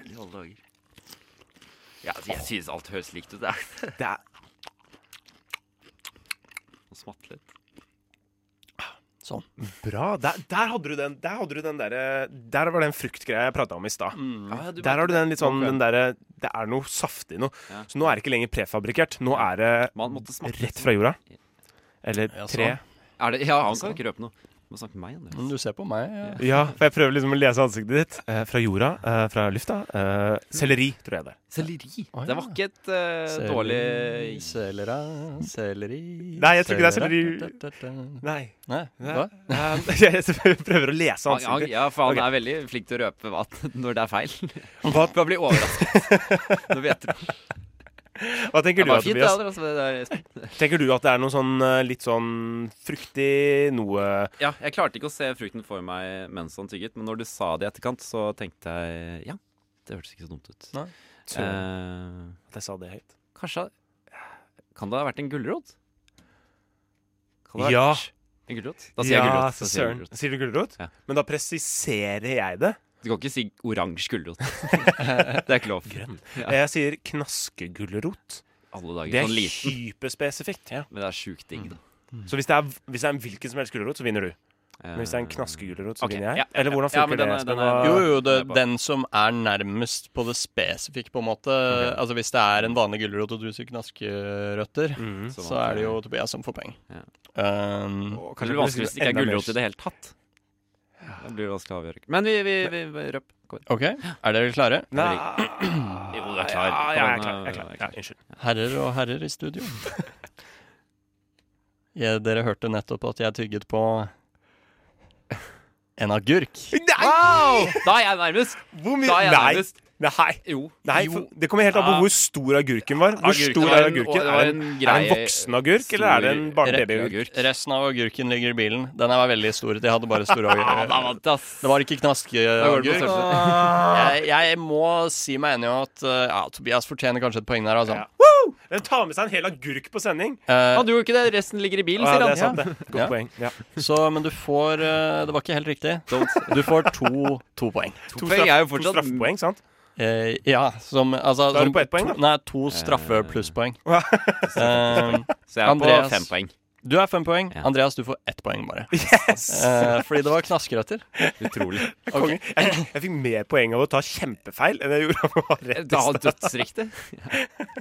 C: I alle dager. Ja, altså, jeg synes alt høres likt ut. Det er
B: Det er
C: Nå smatt litt.
D: Sånn.
B: bra. Der, der hadde du den Der hadde du den derre Der var den fruktgreia jeg prata om i stad.
C: Mm.
B: Der har du den litt sånn Den derre Det er noe saftig noe.
C: Ja.
B: Så nå er det ikke lenger prefabrikkert. Nå er det
C: Man måtte smatte
B: rett fra jorda. Eller
D: Ja, sånn.
B: tre.
C: Er det, ja, han
B: Altså.
C: kan ikke røpe noe. Du må snakke med meg, Andreas.
D: Men du ser på meg. Ja.
B: Ja, for jeg prøver liksom å lese ansiktet ditt. Eh, fra jorda, eh, fra lufta. Eh, selleri, tror jeg det er.
C: Selleri.
D: Å,
C: Det
D: ja.
C: var ikke et eh,
D: Selleri,
C: dårlig
D: Selera, selleri
B: Nei, jeg tror ikke det er
D: selera.
B: Nei.
D: Nei, hva?
B: Eh, jeg prøver å lese
C: Han, han,
B: ansiktet ditt.
C: ja, for han
B: Ok.
C: er veldig flink til å røpe hva, når det er feil.
B: Hva,
C: Bare bli overrasket. Når vi gjetter.
B: hva tenker
C: Det
B: du, da,
C: var fint, det.
B: Tobias?
C: Adrian, altså, det er spennende.
B: Tenker du at det er noe sånn eh, litt sånn fruktig noe
C: Ja, jeg klarte ikke å se frukten for meg mens han tygget, men når du sa det i etterkant, så tenkte jeg ja, det hørtes ikke så dumt ut.
D: Nei.
B: Eh,
C: Eh,
B: At jeg sa det høyt.
C: kanskje Kan det ha vært en gulrot? Kan det ha
B: Ja.
C: vært en gulrot? Da sier jeg gulrot. Da sier jeg gulrot.
B: Sier du gulrot?
C: Ja.
B: Men da presiserer jeg det.
C: Du kan ikke si oransje gulrot. det er ikke lov. Ja.
B: Jeg sier knaskegulrot.
C: Alle
B: Det
C: dager.
B: er
C: Sånn liten.
B: hyperspesifikt. Ja.
C: Men det er sjukt digg, da.
B: Så hvis det, er, hvis det er en hvilken som helst gulrot, så vinner du. Men hvis det er en
C: Eh,
B: knaskegulrot, så
C: ok,
B: vinner jeg.
C: ja, ja,
B: Eller hvordan
C: ja. Ja,
B: funker
C: men den
B: det?
C: er-
B: Espen?
C: den er-
B: Hva-
D: Jo, jo, det,
C: Jeg bare-
D: den som er nærmest på det spesifikke, på en måte. Altså Hvis det er en vanlig gulrot og du sier knaskerøtter,
C: Eh,
B: Mhm.
D: så er det jo Tobias som får poeng.
C: sånn Ja.
D: Um,
B: Å, kanskje
C: Kanskje det blir vanskelig
B: jeg
C: hvis det ikke er
B: enda mer-
C: gulrot i det hele tatt. Det blir vanskelig å avgjøre. Men vi, vi, vi, vi røp. Kom igjen.
D: OK, er dere klare?
B: Nei
C: Jo, du er klar.
B: Ja, ja, jeg er klar.
C: Kom
B: Jeg er
C: igjen,
B: klar.
C: jeg er
B: Ja,
C: klar.
B: unnskyld.
D: Herrer og herrer i studio. Ja, dere hørte nettopp at jeg tygget på en agurk.
C: Wow! Da er jeg nærmest!
B: Hvor mye
C: Da er jeg
B: Nei!
C: nærmest.
B: Nei.
C: Jo.
B: Nei
C: Jo.
B: for, det kommer helt an på
C: Ja.
B: hvor stor agurken var. Hvor
C: Agurken
B: stor
C: var
B: er
C: en-
B: agurken?
C: det
B: Er
C: var
B: det en,
C: en
B: er det en
C: grei-
B: voksen agurk, eller er det en
C: stor
B: barnebabyagurk?
C: Agurk.
D: Resten av agurken ligger i bilen. Den var veldig stor. De hadde bare store agurker. Det var ikke
C: går
D: knaskeagurk.
C: det på
B: Ah.
D: Jeg, jeg må si meg enig i at eh, ja, Tobias fortjener kanskje et poeng der, altså.
B: Ja. Woo! Den tar med seg en hel agurk på sending.
D: Eh,
C: Han gjorde ikke det. Resten ligger i bilen,
B: Ja,
C: sier
B: det er sant,
C: han.
B: det. Godt
D: Ja.
B: poeng. Ja.
D: så, men du får eh, Det var ikke helt riktig. Du får to, to poeng.
B: To,
C: poeng er jo
B: to
C: fortsatt-
B: straffepoeng, sant?
D: Eh, ja, som altså,
B: Da er du
D: som
B: på ett poeng, da.
D: to, Nei, to straffe plusspoeng.
B: Ja.
D: Eh,
C: Så jeg er
D: Andreas.
C: på fem poeng.
D: du er fem poeng.
C: Ja.
D: Andreas, du får ett poeng bare.
B: Yes!
D: Eh, fordi det var knaskerøtter.
C: Utrolig.
B: Konge. Jeg, jeg fikk mer poeng av å ta kjempefeil enn jeg gjorde av å ha rett.
C: Da har han dødsriktig.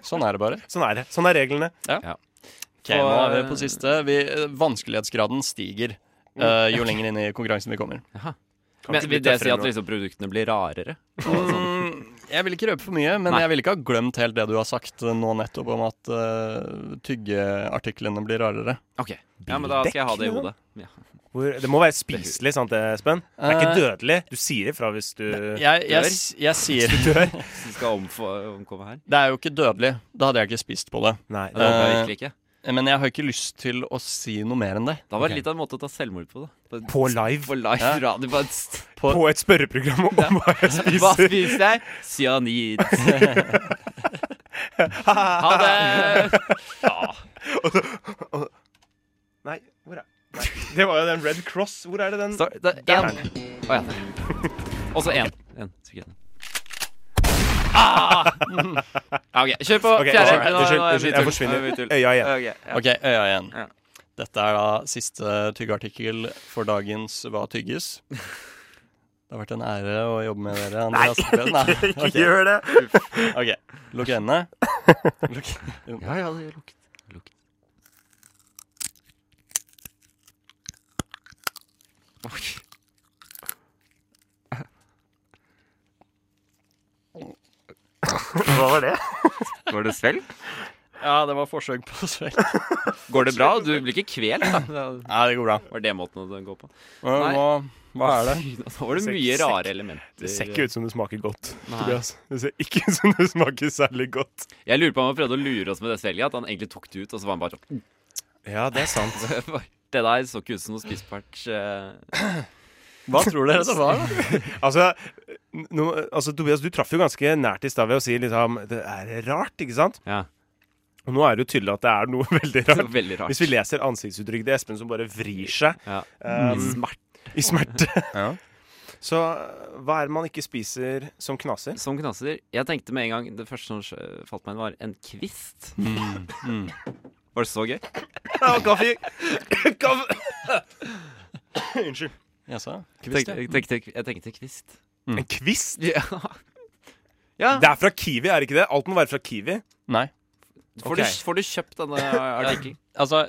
D: Sånn er det bare.
B: Sånn er det. Sånn er reglene.
D: Ok, nå er vi på siste. Vi, eh, vanskelighetsgraden stiger eh, jo lenger inn i konkurransen vi kommer.
B: Kan
C: Men
B: ikke bli
C: vil det si
B: tøffere
C: at
B: nå.
C: liksom produktene blir rarere?
D: Mm, jeg vil ikke røpe for mye, men
C: Nei.
D: jeg vil ikke ha glemt helt det du har sagt eh, nå nettopp om at eh, tyggeartiklene blir rarere.
C: Ok, ja, men da skal jeg ha det i
B: Bildekk,
C: hodet. Ja.
B: Hvor, det må være spiselig, sant eh, Espen? Det er ikke dødelig. Du sier ifra hvis du
D: Jeg, jeg, s- jeg sier
B: dør.
C: Hvis du skal omfå, omkomme her.
D: Det er jo ikke dødelig. Da hadde jeg ikke spist på det. Eh,
B: Nei.
C: Det håper jeg virkelig ikke.
D: Men jeg har ikke lyst til å si noe mer enn det.
C: Da var det litt av en måte å ta selvmord på, da. Bare
B: På live.
C: På live
D: Ja.
C: radio. Bare st-
B: På et spørreprogram om hva jeg
C: Hva
B: spiser.
C: spiser jeg? Cyanid. ha det!
B: Nei, hvor er Nei. Det var jo den Red Cross. Hvor er det den
C: Så, det er én. Å ja. Og så én. En, sikkert en. Ah! Ja, OK, kjør på.
B: Ok,
C: Fjerde.
B: unnskyld,
C: Nå- nå er det
B: unnskyld, unnskyld, jeg
C: min tur.
B: forsvinner.
C: Nå er det min tur.
B: Øya igjen.
C: Ok, ja.
D: Ok, øya igjen.
C: Ja.
D: Dette er da siste tyggeartikkel for dagens Hva tygges? Det har vært en ære å jobbe med dere. Andreas Tvedt. Nei,
B: Ikke gjør det!
D: ok. Lukk øynene. Lukk.
C: Ja, ja, det lukter. Lukt.
B: Hva var det?
C: Går det svelg?
D: Ja, det var forsøk på svelg.
C: Går det bra? Du blir ikke kvelt, da.
D: Nei, det går bra.
C: Var det måten å gå på?
D: Men Hva, hva er det?
C: Fy, Da var det
B: ser
C: mye
B: ikke-
C: rare elementer.
B: Det ser ikke ut som det smaker godt.
C: Nei.
B: Tobias. Det ser ikke ut som det smaker særlig godt.
C: Jeg lurer på om han prøvde å lure oss med det svelget. At han egentlig tok det ut, og så var han bare sånn
B: Ja, det er sant.
C: Det der så ikke ut som noe spisepart. eh.
D: Hva tror dere det var? da?
B: Altså, n- nå, altså Tobias, du traff jo ganske nært i stad ved å si liksom Det er rart, ikke sant?
C: Ja,
B: Og nå er det jo tydelig at det er noe veldig
C: det var
B: rart.
C: Veldig rart.
B: Hvis vi leser ansiktsuttrykket til Espen som bare vrir seg
C: ja. Mm.
B: eh,
C: Smert
B: i smerte
D: Ja.
B: Så eh, hva er det man ikke spiser som knaser?
C: som knaser. Jeg tenkte med en gang Det første som skj- falt meg inn, var en kvist.
D: Mm,
C: Var det så gøy?
B: Kaffe! Kaffe! Unnskyld.
D: Jaså?
C: Tenkte-
D: Kvist, ja.
C: Jeg tenkte, jeg tenkte kvist.
B: En kvist?
C: Ja. ja.
B: Det er fra Kiwi, er det ikke det? Alt må være fra Kiwi.
D: Nei.
C: Får, du, får du kjøpt denne artikkelen?
D: Altså,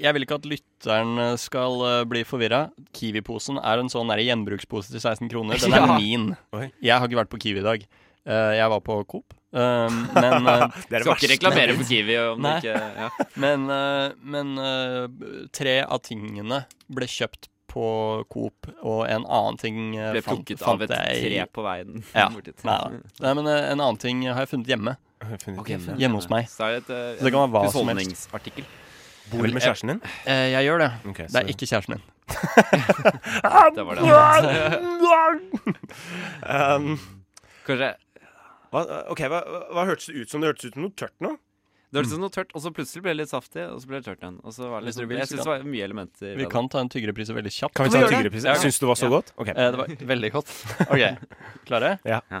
D: jeg vil ikke at lytteren skal eh, bli forvirra. Kiwi-posen er en sånn der gjenbrukspose til 16 kroner. Den er
C: Ja.
D: min.
B: Oi.
D: Jeg har ikke vært på Kiwi i dag. Eh, jeg var på Coop. eh, men eh,
B: Det er det
C: Skal ikke
B: verste.
C: reklamere for Kiwi om det
D: Nei.
C: ikke ja.
D: men, eh, men eh, tre av tingene ble kjøpt på Coop, og en annen ting eh,
C: ble
D: fant,
C: plukket av
D: fant
C: et
D: jeg
C: tre på veien.
D: Ja.
C: bort dit.
D: Nei, da. Nei, men eh, en annen ting har jeg funnet hjemme.
C: Ok,
B: Okay.
C: funnet
D: hjemme hos
C: henne.
D: meg.
C: Så er det et, eh,
D: Så det kan være hva som helst.
C: husholdningsartikkel.
B: Bor du med kjæresten din?
D: Eh, jeg gjør det.
B: Ok,
D: Det
B: så-
D: er ikke kjæresten min.
C: Det var det.
B: Um,
C: Kanskje
B: hva, ok, hva, hva hørtes det ut som? Det hørtes ut som noe tørt nå?
C: Det
B: Mm.
C: hørtes ut som noe tørt, og så plutselig ble det litt saftig, og så ble det tørt igjen. Og så var det
D: Hvis dere
C: liksom,
D: vil,
C: jeg
D: så
C: syns det var mye elementer. i
D: Vi
C: det.
D: kan ta en tyggereprise veldig kjapt.
B: Kan vi
C: Kan
B: ta en
C: vi gjøre det?
B: tyggerepris?
C: Ja, ok.
B: Syns du det var så
C: Ja.
B: godt? Ok.
D: Eh, det var veldig godt. OK, klare?
B: Ja.
C: Ja.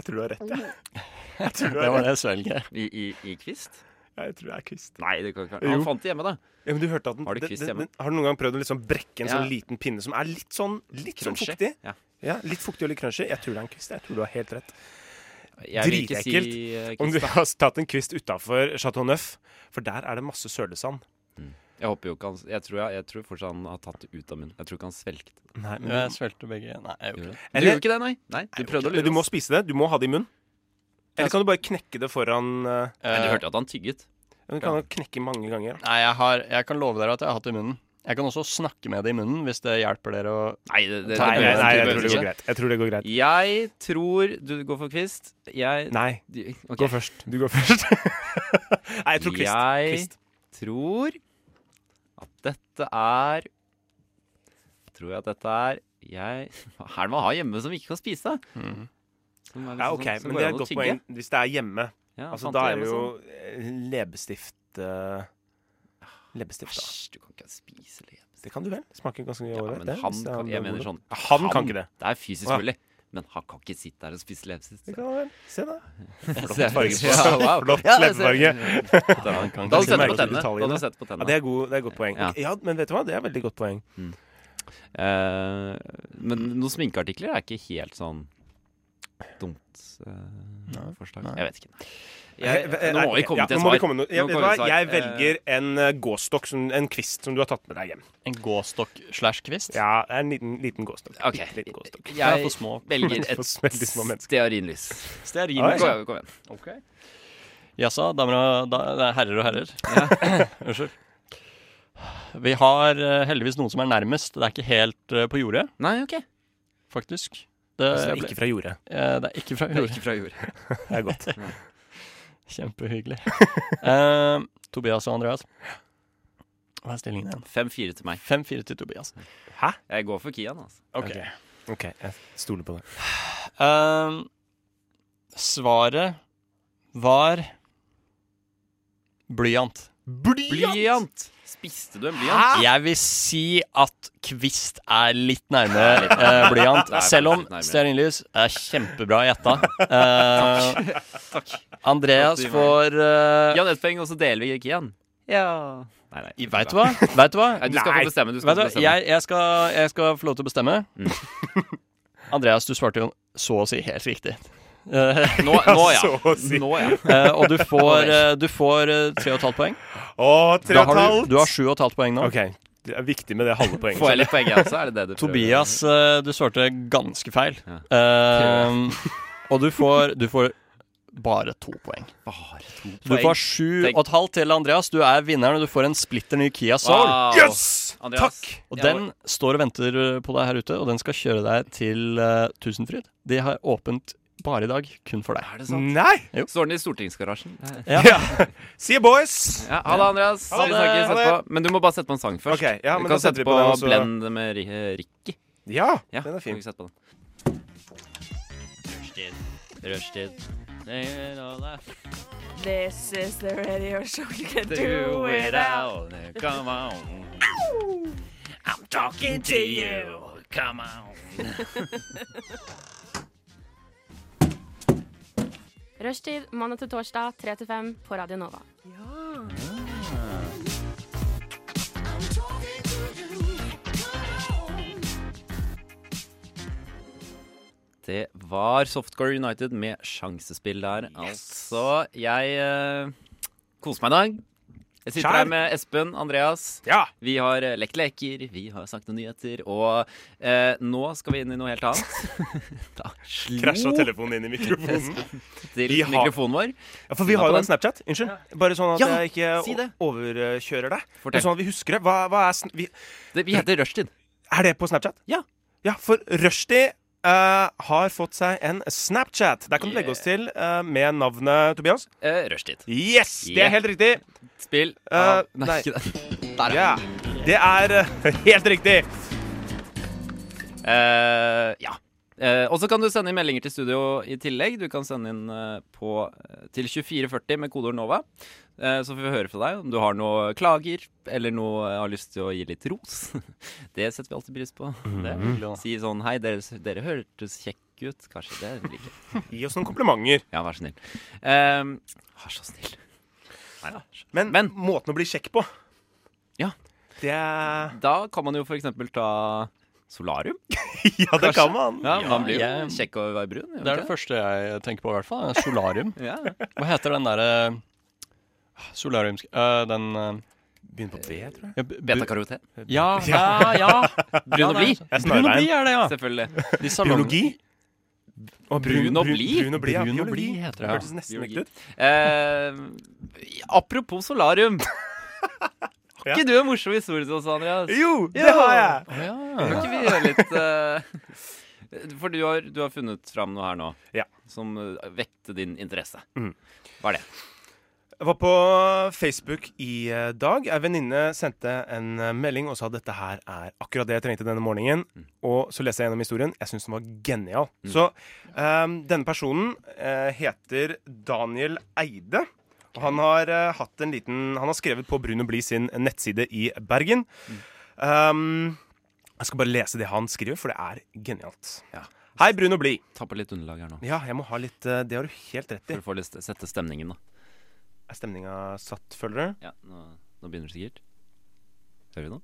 B: Jeg tror du har rett, jeg. Jeg tror du
D: Det
B: har
D: var
B: rett.
D: det svelget.
C: I, i, I kvist?
B: Jeg tror det er kvist.
C: Nei, det kan ikke være
B: Jo.
C: Han fant det hjemme, da.
B: Ja, men du hørte at den,
C: Har du
B: den-
C: kvist
B: den-
C: hjemme?
B: Har du noen gang prøvd å liksom brekke en
C: Ja.
B: sånn liten pinne som er litt sånn, litt sånn
C: Crunchy.
B: fuktig?
C: Ja.
B: Ja, Litt fuktig og litt crunchy. Jeg tror det er en kvist. Jeg tror du har helt rett.
C: Jeg vil ikke si eh,
B: Om du
C: kvist, da.
B: har tatt en kvist utafor Chateau Neuf, for der er det masse sølesand.
C: Jeg håper jo ikke han Jeg tror, jeg, jeg tror fortsatt han har tatt det ut av munnen. Jeg tror ikke han svelget. det.
B: Nei,
D: Jo, jeg svelgte begge. Nei, jeg
C: Gjorde
D: gjorde
C: det.
D: det.
C: Du
B: Eller-
C: gjorde ikke det, nei? Nei, Du prøvde å
B: Men
C: lure
B: du må
C: oss.
B: spise det. Du må ha det i munnen. Eller kan du bare knekke det foran eh,
C: Men du hørte at han tygget?
B: Du kan jo knekke mange ganger.
D: Eh, Nei, jeg, har, jeg kan love dere at jeg har hatt det i munnen. Jeg kan også snakke med det i munnen hvis det hjelper dere å
C: Nei, det, det,
B: Nei, nei, nei, jeg
C: det
B: tror det går greit. Jeg tror det går greit.
C: Jeg tror du går for Kvist. Jeg
B: Nei,
C: Ok.
B: gå først. Du går først. nei, jeg tror Kvist.
C: Jeg
B: Kvist.
C: tror at dette er Tror jeg at dette er jeg, Hva er det man har hjemme som ikke kan spise? Som er liksom
B: Ja, OK,
C: sånn- som
B: men
C: går
B: det er
C: an å
B: et godt
C: tygge.
B: poeng hvis det er hjemme.
C: Ja,
B: Altså,
C: sant,
B: da
C: det
B: er det
C: hjemme
B: jo
C: sånn.
B: eh, leppestift eh, Leppestift, da.
C: Æsj, du kan ikke spise leve.
B: Det kan du vel? Smaker ganske
C: Ah, Ja,
B: ålreit.
C: men
B: det,
C: han
B: hvis det er
C: kan, jeg
B: lovende.
C: mener sånn
B: Ja, Han kan ikke det.
C: Det er fysisk
B: Å, ja.
C: mulig. Men han kan ikke sitte der og spise leppestift.
B: Det kan han vel. Se, da.
C: Flott
B: farge på-
C: Ja, wow.
B: flott
C: Ja, det sånn- ser-
B: leppefarge.
C: Da
B: ikke
C: hadde du
B: merke de
C: sett på tennene. Da hadde
B: detaljene.
C: du sett på
B: Ja,
C: tennene.
B: det er, god, det er godt poeng.
C: Ja.
B: Ok, Ja, men vet du hva? Det er veldig godt poeng.
C: Eh, men noen sminkeartikler er ikke helt sånn dumt eh, forslag. Jeg vet ikke. Jeg, eh, nå må vi komme
B: Eh, Ja,
C: til
B: nå
C: et
B: må vi
C: svar.
B: komme til- ja,
C: Nå
B: vet du
C: kommer
B: hva?
C: vi til
B: Jeg
C: svar.
B: velger en eh, gåstokk, som, en kvist, som du har tatt med deg hjem.
D: En gåstokk slash kvist?
B: Ja, det er en liten, liten gåstokk.
C: Eh, Ok.
B: Bitte Liten gåstokk.
D: Jeg er
C: Jeg
D: for små.
C: velger
B: For veldig små
C: et
B: mennesker.
C: stearinlys.
D: Stearin.
B: Oi.
C: Kom igjen. Kom igjen.
D: Jaså, damer og da, nei, herrer og herrer. Unnskyld. Vi har eh, heldigvis noen som er nærmest. Det er ikke helt eh, på jordet,
C: Nei, OK.
D: faktisk. Det,
B: Altså,
D: ble-
B: ikke fra jordet.
D: eh, det er ikke fra
C: Det er
D: jordet.
C: ikke fra jord.
B: Det er godt.
D: Kjempehyggelig. Eh, Tobias og Andreas. Hva er stillingen igjen?
C: 5-4 til meg.
D: 5-4 til Tobias.
C: Jeg går for Kian, altså.
D: Ok.
B: Ok. OK, jeg stoler på det.
D: Eh, svaret var blyant.
C: Blyant! Spiste du en blyant?
D: Jeg vil si at kvist er litt nærme eh, blyant.
C: Det er
D: Selv om
C: faktisk litt nærmere.
D: stearinlys er kjempebra gjetta. Eh,
C: Takk.
D: Andreas
C: Godt i meg.
D: får eh,
C: Jan ett poeng, og så deler vi Kian. Ja Nei, nei.
D: Vet du hva? Vet du hva?
C: Nei, du skal
B: Nei.
C: få bestemme. Du skal
D: Vet du,
C: få bestemme.
D: hva?
C: Mm.
D: jeg, jeg, skal, jeg skal få lov til å bestemme. Andreas, du svarte jo så å si helt riktig. Eh,
C: Nå, nå, ja.
B: Så å si.
C: Nå, ja.
D: eh, og du får, eh, du får eh, tre og et halvt poeng.
B: Å, tre og
D: Da
B: et
D: har du,
B: halvt!
D: du har sju og et halvt poeng nå.
B: OK. Det er viktig med det halve poenget.
C: Får jeg litt poeng, jeg også? Er det det du prøver?
D: Tobias, eh, du svarte ganske feil. Eh, og du får, du får bare to poeng.
C: Bare to
D: Du får sju og et halvt til Andreas. Du er vinneren, og du får en splitter ny Kia Soul.
C: Wow.
B: Yes!
C: Andreas,
B: Takk!
D: Og
C: jeg
D: den står og venter eh, på deg her ute, og den skal kjøre deg til eh, Tusenfryd. De har åpent bare i dag, kun for deg.
C: var- Er det sant?
B: Nei!
C: Står den i stortingsgarasjen? Ja,
D: Ja.
B: See you, boys!
C: Ha det, Andreas.
B: Ha det.
C: Vi snakkes
B: Ha det.
C: etterpå. Men du må bare sette på en sang først.
B: Ok, ja, men
C: du
B: da
C: kan
B: setter vi
C: sette
B: på
C: på,
B: den, og så-
C: Blend med Ri- Ricky.
B: Ja,
C: Ja,
B: den er
C: kan
B: fin.
C: vi sette på den. Rushtid. Rushtid. They know that
F: This is the radio show you can
C: they
F: do without.
C: without. Come on. I'm talking to you. Come on.
G: Rushtid mandag til torsdag 3 til 5 på Radio Nova.
C: Det var Softcore United med sjansespill der. Altså, jeg eh, koser meg i dag. Jeg sitter
B: Skjær.
C: her med Espen, Andreas.
B: Ja!
C: Vi har eh, lekt leker, vi har sagt noen nyheter, og eh, nå skal vi inn i noe helt annet. da slo
B: Krasja telefonen inn i mikrofonen.
C: til
B: Mhm. Vi har-
C: mikrofonen vår.
B: Ja, For vi
C: Synd
B: har
C: på
B: jo
C: den.
B: en Snapchat. Unnskyld. Bare sånn at
C: Ja,
B: jeg ikke
C: si det.
B: o- overkjører deg. Men
C: Fortell.
B: Sånn at vi husker det. Hva, hva er, sn- vi,
C: Det, vi heter Rushtid.
B: er det på Snapchat?
C: Ja.
B: Ja, for Rushdie eh, har fått seg en Snapchat. Der kan du legge oss til eh, med navnet Tobias.
C: Eh, rushtid.
B: Yes! Det
C: Yeah.
B: er helt riktig.
C: Spill
B: Eh,
C: av Nei,
B: nei.
C: ikke det. Der,
B: Ja.
C: ja.
B: Det er eh, helt riktig.
C: Eh, ja. Eh, og så kan du sende inn meldinger til studio i tillegg. Du kan sende inn eh, på, eh, til 2440 med kodeord NOVA. Eh, så får vi høre fra deg om du har noe klager eller noe eh, har lyst til å gi litt ros. det setter vi alltid pris på. Det. Si sånn Hei, dere, dere hørtes kjekke ut. Kanskje det blir ikke
B: Gi oss noen komplimenter.
C: Ja, vær så snill. Eh, vær så snill. Nei da.
B: Men,
C: Men-
B: måten å bli kjekk på
C: Ja.
B: Det er
C: Da kan man jo for eksempel ta solarium.
B: Ja, det kan man.
C: Ja, Man blir jo
D: jeg-
C: kjekk av å være brun. gjør
D: Det er
C: man
D: det
C: ikke
D: første jeg tenker på, i hvert fall. er Solarium.
C: det? Ja.
D: Hva heter den eh, derre Solariums... øh, den øh,
B: Begynner på B, tror jeg.
D: ja, bu-
C: Betakaroten.
D: Ja, ja, ja.
C: Brun og blid.
B: Jeg er
D: Brun og
B: snarveien.
D: blid er det, ja.
C: Selvfølgelig.
D: De salong-
B: Biologi? Og
C: Brun og blid?
B: Brun og blid, ja.
D: Brun og
B: Biologi.
D: blid heter det, ja.
B: Hørtes nesten
C: Biologi.
B: riktig ut.
C: Eh, apropos solarium.
B: Ja.
C: Ikke du en morsom historie til oss, Andreas?
B: Jo, det har jeg!
A: Å ja.
C: Kan ikke vi gjøre litt eh, For du har, du har funnet fram noe her nå
B: Ja.
C: som eh, vekte din interesse.
B: Mm.
C: Hva er det?
B: Jeg var på Facebook i eh, dag. Ei venninne sendte en eh, melding og sa dette her er akkurat det jeg trengte denne morgenen. Og så leste jeg gjennom historien. Jeg syns den var genial. Så ehm, denne personen eh, heter Daniel Eide. Og han har, eh, hatt en liten, han har skrevet på Brun og Bli sin nettside i Bergen. Ehm, jeg skal bare lese det han skriver, for det er genialt.
C: Ja.
B: Hei, Brun og Bli.
C: Tapper litt underlag her nå.
B: Ja, jeg må ha litt eh, Det har du helt rett i.
C: For å få litt, sette stemningen, da.
B: Er stemninga satt, føler du?
C: Ja, nå, nå begynner det sikkert. Hører vi nå?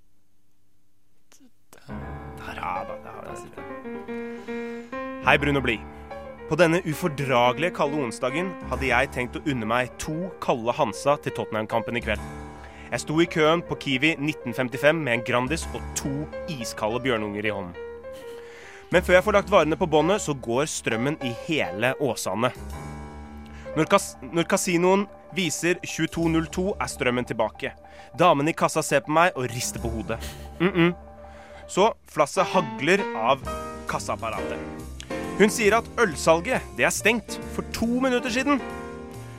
C: Der, ja.
B: Ja da. det har
C: Der
B: jeg.
C: sitter den.
B: Hei, Brun og Blid. På denne ufordragelige kalde onsdagen hadde jeg tenkt å unne meg to kalde Hansa til Tottenham-kampen i kveld. Jeg sto i køen på Kiwi 1955 med en Grandis og to iskalde bjørnunger i hånden. Men før jeg får lagt varene på båndet, så går strømmen i hele Åsane. Når, kas når kasinoen viser 22.02, er strømmen tilbake. Damene i kassa ser på meg og rister på hodet. Mm -mm. Så flasset hagler av kassaapparatet. Hun sier at ølsalget det er stengt for to minutter siden.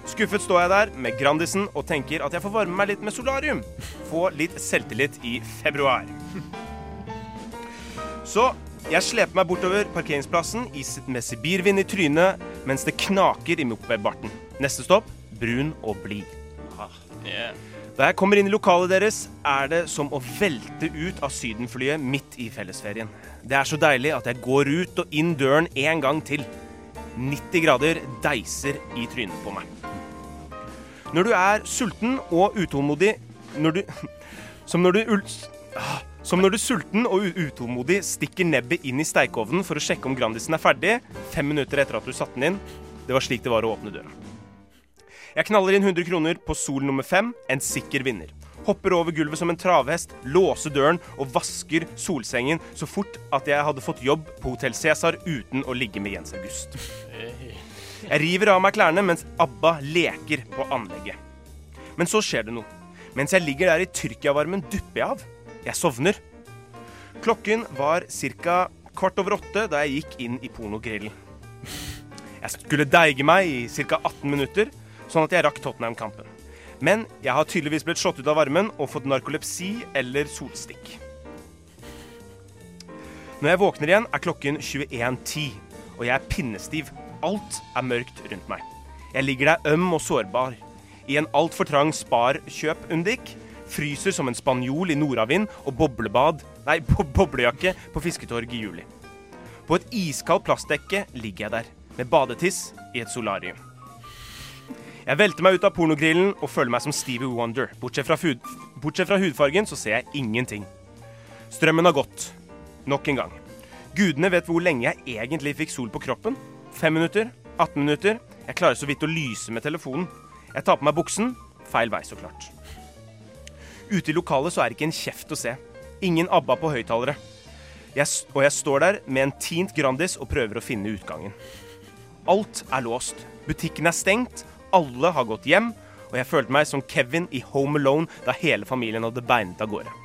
B: Skuffet står jeg der med Grandisen og tenker at jeg får varme meg litt med solarium. Få litt selvtillit i februar. Så jeg sleper meg bortover parkeringsplassen i, med sibirvind i trynet mens det knaker i mopedbarten. Neste stopp brun og blid. Da jeg kommer inn i lokalet deres, er det som å velte ut av Sydenflyet midt i fellesferien. Det er så deilig at jeg går ut og inn døren en gang til. 90 grader deiser i trynet på meg. Når du er sulten og utålmodig når du, Som når du ul- Ah, Som når du sulten og u- utålmodig stikker nebbet inn i steikeovnen for å sjekke om Grandisen er ferdig, fem minutter etter at du satte den inn. Det var slik det var å åpne døra. Jeg knaller inn 100 kroner på sol nummer 5, en sikker vinner. Hopper over gulvet som en travhest, låser døren og vasker solsengen så fort at jeg hadde fått jobb på Hotell Cæsar uten å ligge med Jens August. Jeg river av meg klærne mens ABBA leker på anlegget. Men så skjer det noe. Mens jeg ligger der i Tyrkia-varmen, dupper jeg av. Jeg sovner. Klokken var ca. kvart over åtte da jeg gikk inn i pornogrillen. Jeg skulle deige meg i ca. 18 minutter, sånn at jeg rakk Tottenham-kampen. Men jeg har tydeligvis blitt slått ut av varmen og fått narkolepsi eller solstikk. Når jeg våkner igjen, er klokken 21.10, og jeg er pinnestiv. Alt er mørkt rundt meg. Jeg ligger der øm og sårbar. I en altfor trang spar-kjøp-undik. Fryser som en spanjol i nordavind og boblebad Nei, bo boblejakke på Fisketorg i juli. På et iskaldt plastdekke ligger jeg der, med badetiss i et solarium. Jeg velter meg ut av pornogrillen og føler meg som Stevie Wonder. Bortsett fra, fud bortsett fra hudfargen så ser jeg ingenting. Strømmen har gått. Nok en gang. Gudene vet hvor lenge jeg egentlig fikk sol på kroppen. Fem minutter? 18 minutter? Jeg klarer så vidt å lyse med telefonen. Jeg tar på meg buksen. Feil vei, så klart. Ute i lokalet så er ikke en kjeft å se. Ingen ABBA på høyttalere. Jeg, s- og jeg står der med en tint Grandis og prøver å finne utgangen. Alt er låst. Butikken er stengt, alle har gått hjem, og jeg følte meg som Kevin i Home Alone da hele familien hadde beinet av gårde.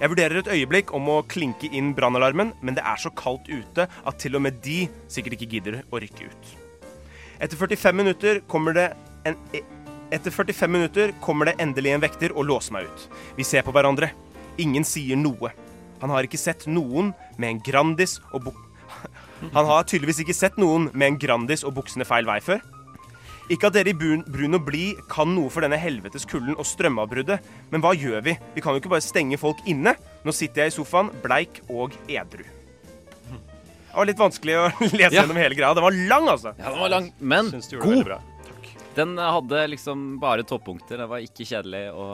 B: Jeg vurderer et øyeblikk om å klinke inn brannalarmen, men det er så kaldt ute at til og med de sikkert ikke gidder å rykke ut. Etter 45 minutter kommer det en e- Etter 45 minutter kommer det endelig en vekter og låser meg ut. Vi ser på hverandre. Ingen sier noe. Han har ikke sett noen med en Grandis og buk... Han har tydeligvis ikke sett noen med en Grandis og buksene feil vei før. Ikke at dere i Brun, brun og Blid kan noe for denne helvetes kulden og strømavbruddet, men hva gjør vi? Vi kan jo ikke bare stenge folk inne. Nå sitter jeg i sofaen, bleik og edru. Det var litt vanskelig å lese
C: Ja.
B: gjennom hele greia. Den var lang, altså.
C: Ja, den var lang, men
D: Syns du gjorde det veldig
C: god.
D: bra.
C: Den hadde liksom bare toppunkter. Den var ikke kjedelig. Og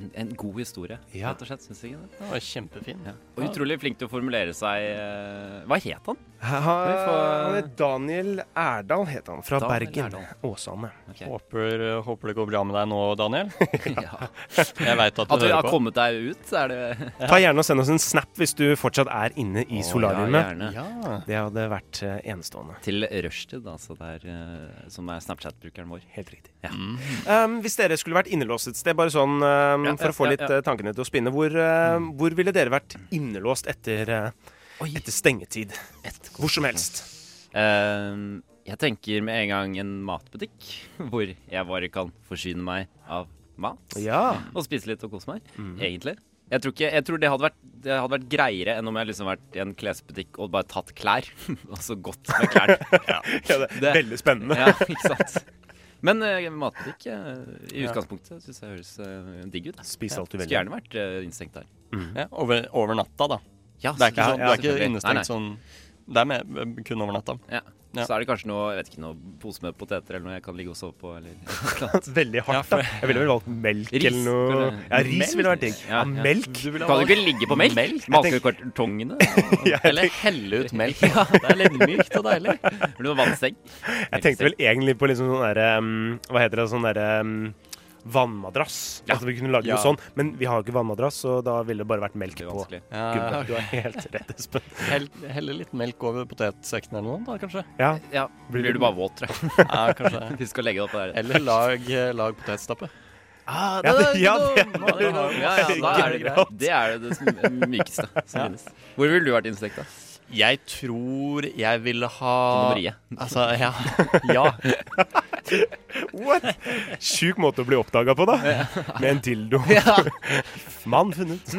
C: en, en god historie,
B: Ja.
C: rett og slett. Syns jeg ikke det?
D: Den var kjempefin.
C: Og utrolig flink til å formulere seg eh, Hva het han?
B: Ha,
C: Vi får-
B: han het Daniel Erdal, het han, fra
C: eh, Daniel
B: Bergen.
C: Erdal.
B: Åsane.
C: Ok.
D: Håper, eh, håper det går bra med deg nå, Daniel.
C: ja.
D: Jeg veit at
C: At
D: du
C: du har
D: hører på.
C: kommet deg ut, så er det
B: Ta gjerne og Send oss en snap hvis du fortsatt er inne i solariumet.
C: Ja, gjerne.
D: Ja.
B: det hadde vært eh, enestående.
C: Til Rushtid, altså, der, eh, som er Snapchat-brukeren vår.
B: Helt riktig.
C: Ja.
B: Um, hvis dere skulle vært innelåst et sted, bare sånn um,
C: Ja,
B: for
C: ja,
B: å få
C: ja,
B: litt
C: ja. Mm.
B: eh, tankene til å spinne, hvor, eh, hvor ville dere vært innelåst etter, eh,
C: Oi.
B: etter stengetid? Hvor som helst.
C: Eh, jeg tenker med en gang en matbutikk, hvor jeg bare kan forsyne meg av mat.
B: Ja.
C: Og spise litt og kose meg,
D: Mhm.
C: egentlig. Jeg tror, ikke, jeg tror det, hadde vært, det hadde vært greiere enn om jeg liksom vært i en klesbutikk og bare tatt klær. og så gått med klærne.
B: ja det, er
C: Det-
B: veldig spennende.
C: ja, ikke sant? Men eh, matbutikk eh, i utgangspunktet syns jeg høres eh, digg ut.
B: Spis alt du
C: Skulle
B: velger.
C: gjerne vært eh, innestengt der.
D: Ja, over, over natta, da.
C: Ja,
D: Det er ikke,
C: selvfølgelig.
D: sånn, det er ikke
C: Selvfølgelig.
D: innestengt
C: Nei, nei.
D: sånn Det er med, kun over natta.
C: Ja.
D: Ja.
C: Så er det kanskje noe, jeg vet ikke, noe pose med poteter eller noe jeg kan ligge og sove på. Eller,
B: Veldig hardt,
D: Ja, for-
B: da. Jeg ville vel valgt melk
C: Ris,
B: eller noe.
C: kanskje.
B: Ja, ris ville vært digg.
C: Melk?
B: Ja,
C: Ja, ja.
B: melk.
C: kan du ikke ligge på melk? melk? Make kartongene?
B: Ja, jeg
C: eller helle ut melk? ja, det er litt mykt og deilig. Blir det noe vannseng?
B: Jeg tenkte vel egentlig på liksom sånn derre um, Hva heter det? Sånn derre um, Vannmadrass. At vi kunne lage
D: Ja.
B: noe sånn. Men vi har jo ikke vannmadrass, så da ville det bare vært melk
C: Det er
B: på.
C: vanskelig.
D: Ja,
B: Gubbe, du har helt rett, Espen.
D: hell, helle litt melk over potetsekken eller noe, da, kanskje.
B: Ja,
C: Ja, blir du bare våt, tror jeg.
D: Ja, kanskje det.
C: Vi skal legge deg oppå der.
D: Eller lag, eh, lag potetstappe.
C: Ah,
B: Ja, det- ja, det-
C: det, ja, ja, da er det, greit. det er det sm- mykeste som finnes. Hvor ville du vært insekta?
D: Jeg tror jeg ville ha
C: Nummeriet.
D: Altså, ja. ja.
B: What? Sjuk måte å bli oppdaga på, da. Med en dildo. Mann funnet.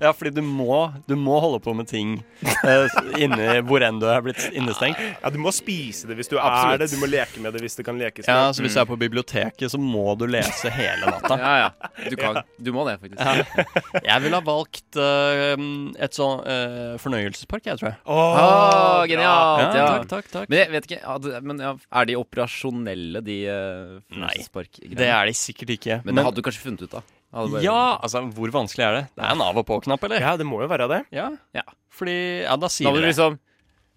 D: Ja, fordi du må, du må holde på med ting eh, inne hvor enn du er blitt innestengt.
B: Ja, du må spise det hvis du
D: Absolutt.
B: er det. Du må leke med det hvis det kan lekes
D: Ja,
B: med.
D: så hvis du er på biblioteket, så må du lese hele natta.
C: Ja, ja. Du kan. Du må det, faktisk.
D: Jeg ville ha valgt eh, et sånn eh, fornøyelsespark, jeg tror jeg.
B: Åh,
C: Å,
B: bra.
C: genialt! Ja.
D: takk, takk, takk.
C: Men jeg vet ikke, ja, det- men ja, er de operasjonelle, de uh, fornøyelsesparkgreiene?
D: Det er de sikkert ikke.
C: Men det hadde du kanskje funnet ut av. Hadde bare-
D: ja, altså, hvor vanskelig er det? Det er en av og på-knapp, eller?
B: Ja, det må jo være det.
D: Ja.
C: Ja.
D: Fordi Ja, da
C: Da
D: sier
C: må
D: vi
C: du
D: det.
C: liksom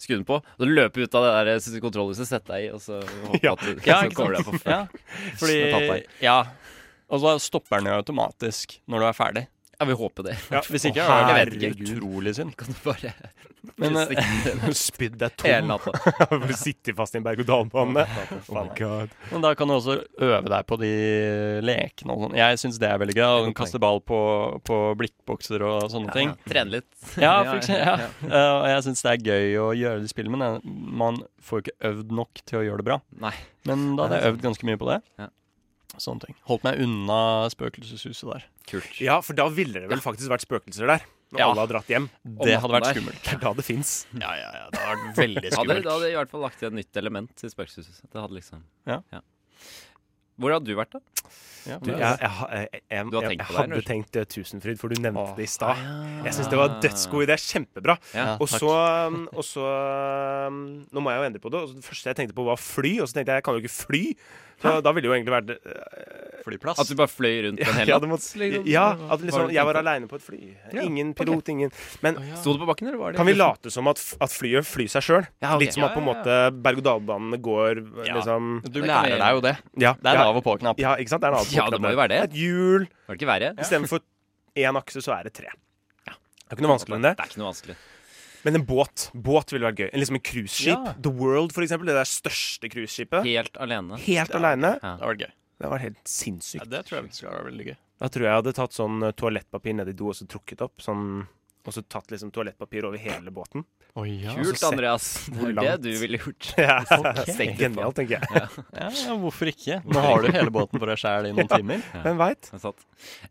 C: skru den på, og så løpe ut av det der eh, kontrollhuset, sette deg i, og så håpe
B: Ja.
C: at du
D: Ja,
C: så
D: ikke
C: kommer du deg
D: sant?
C: på
D: Ja.
C: Jeg tapte
D: Fordi
C: deg.
D: Ja. Og så stopper den jo automatisk når du er ferdig.
C: Ja, vi håper det.
B: Ja.
D: Hvis ikke
B: Å,
D: er det
C: herregud.
D: utrolig synd.
C: Kan du bare
D: Men, eh,
B: Spydd deg
C: Hele
B: tom
C: natta.
B: av å sitte fast i en berg-og-dal-bane. Oh my god.
D: Men da kan du også øve deg på de lekene og sånn. Jeg syns det er veldig gøy. og den Kaste ball på, på blikkbokser og sånne ting.
C: Trene litt.
D: Ja, for eksempel, ja. Eh, Og jeg syns det er gøy å gjøre de spillene, men jeg- man får jo ikke øvd nok til å gjøre det bra.
C: Nei.
D: Men da hadde jeg øvd ganske mye på det.
C: Ja.
D: Sånne ting. Holdt meg unna spøkelseshuset der.
C: Kult.
B: Ja, for da ville det vel faktisk vært spøkelser der. Når
D: Ja.
B: alle har dratt hjem.
D: Det hadde vært
C: natten der.
D: skummelt.
B: Det er da det fins.
D: Ja, ja, ja. Det hadde vært veldig
C: Hadde, det
D: skummelt.
C: hadde i hvert fall lagt til et nytt element til spøkelseshuset. Det hadde liksom
D: Ja.
C: Hvor hadde du vært, da?
D: Ja,
B: Du,
D: men-
B: jeg, jeg, ha- jeg, jeg, jeg,
C: Du har
B: jeg,
C: tenkt på det,
B: hadde
C: Anders?
B: tenkt eh, Tusenfryd, for du nevnte
D: Åh.
B: det i
C: Ah,
B: stad. Jeg syns det var en dødsgod idé. Kjempebra.
C: Ja,
B: og,
D: takk.
B: så, um, og så um, Nå må jeg jo endre på det. Og så det første jeg tenkte på, var fly. Og så tenkte jeg jeg kan jo ikke fly. Så da ville det jo egentlig vært
D: Flyplass.
C: At du bare fløy rundt en hel
B: ja,
C: natt?
B: det
C: liksom.
B: måtte, ja, at liksom, jeg var aleine på et fly.
D: Ja,
B: Ingen pilot, ingen Men
C: Sto du på bakken, eller var det
B: kan vi late som at, f- at flyet flyr seg sjøl?
D: Ah,
C: Ja, ok.
B: Litt som at på en måte berg-og-dal-banene går
D: Ja.
B: liksom
D: Du
C: Det kan vi
D: lærer
C: gjøre.
D: deg jo det.
B: Ja,
D: Det er en
B: ja,
D: av og på-knapp.
B: ja, ikke sant? Det er en annen
C: Ja, det må jo være det.
B: Et hjul.
C: Var det ikke verre?
B: I stedet for én akse, så er det tre. Det er ikke noe vanskeligere enn det.
C: Det er ikke noe vanskelig.
B: Men en båt båt ville vært gøy. En, liksom en cruiseskip.
D: Ja.
B: The World, for eksempel. Det der største cruiseskipet.
C: Helt alene.
B: Helt aleine.
D: Det hadde vært gøy.
B: Det var helt sinnssykt.
D: Ja, det tror jeg faktisk hadde vært veldig gøy.
B: Da tror jeg jeg hadde tatt sånn eh, toalettpapir ned i do og så trukket opp. Sånn, og så tatt liksom toalettpapir over hele båten.
D: Kult.
C: Kult,
B: se
C: Andreas. Det er det
B: langt.
C: du ville gjort.
B: Ja.
C: Stengt det på.
B: Genialt, tenker jeg.
D: Ja, ja, hvorfor ikke? Nå har du hele båten for deg sjæl i noen timer.
B: Hvem veit?
C: Det er sant.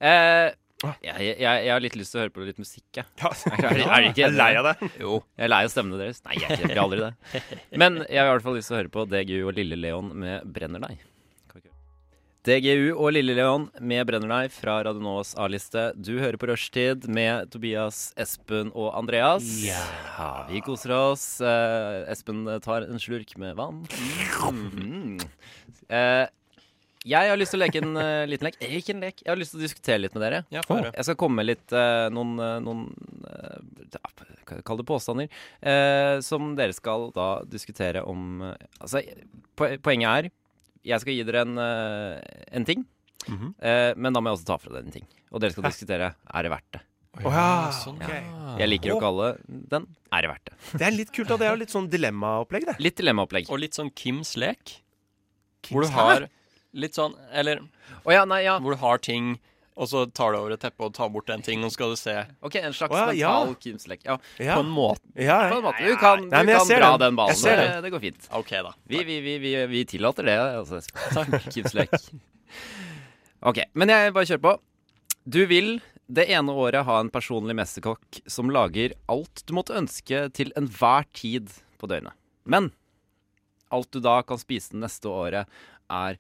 C: Eh,
B: Ah.
C: jeg, jeg, jeg har litt lyst til å høre på litt musikk, jeg.
B: Ja.
C: Er, er, er det ikke
B: Jeg er lei av det.
C: Jo. Jeg er lei av stemmene deres. Nei, jeg er ikke- jeg blir aldri det. Men jeg har i hvert fall lyst til å høre på DGU og Lille Leon med 'Brenner deg'. Kan vi ikke høre? DGU og Lille Leon med 'Brenner deg' fra Radio Nås A-liste. Du hører på Rushtid med Tobias, Espen og Andreas. Ja, vi koser oss. Eh, Espen tar en slurk med vann. Mm. Eh, jeg har lyst til å leke en eh, liten lek. Eh, Ikke en lek. Jeg har lyst til å diskutere litt med dere.
D: Ja, få høre.
C: Jeg skal komme med litt eh, noen, eh, noen eh, Kall det påstander. eh, som dere skal da diskutere om eh, Altså, po poenget er Jeg skal gi dere en, eh, en ting.
B: Mhm.
C: eh, men da må jeg også ta fra dere en ting. Og dere skal diskutere er det verdt det.
B: Å ja.
D: sånn,
B: ok.
C: Jeg liker å kalle den er det verdt det.
B: Det er litt kult, da. Det er jo litt sånn dilemmaopplegg, det.
C: Litt dilemmaopplegg.
D: Og litt sånn Kims lek. Hvor du har litt sånn Eller
C: Å ja, nei, ja.
D: hvor du har ting, og så tar du over et teppe og tar bort en ting, og så skal du se
C: Ok, en slags
B: Å ja, ja.
C: mental kimslek. Ja,
B: Ja,
D: på en måte.
B: ja,
C: på en
B: ja.
C: måte. Du kan, du
B: Nei, men jeg
C: kan
B: ser
C: dra
B: den.
C: den ballen.
B: Jeg ser
C: Det,
B: den.
C: det går fint.
D: OK, da.
C: Vi, vi, vi, vi, vi tillater det. Altså. Takk. Kimslek. Ok, men jeg bare kjører på. Du vil det ene året ha en personlig mesterkokk som lager alt du måtte ønske til enhver tid på døgnet. Men alt du da kan spise det neste året, er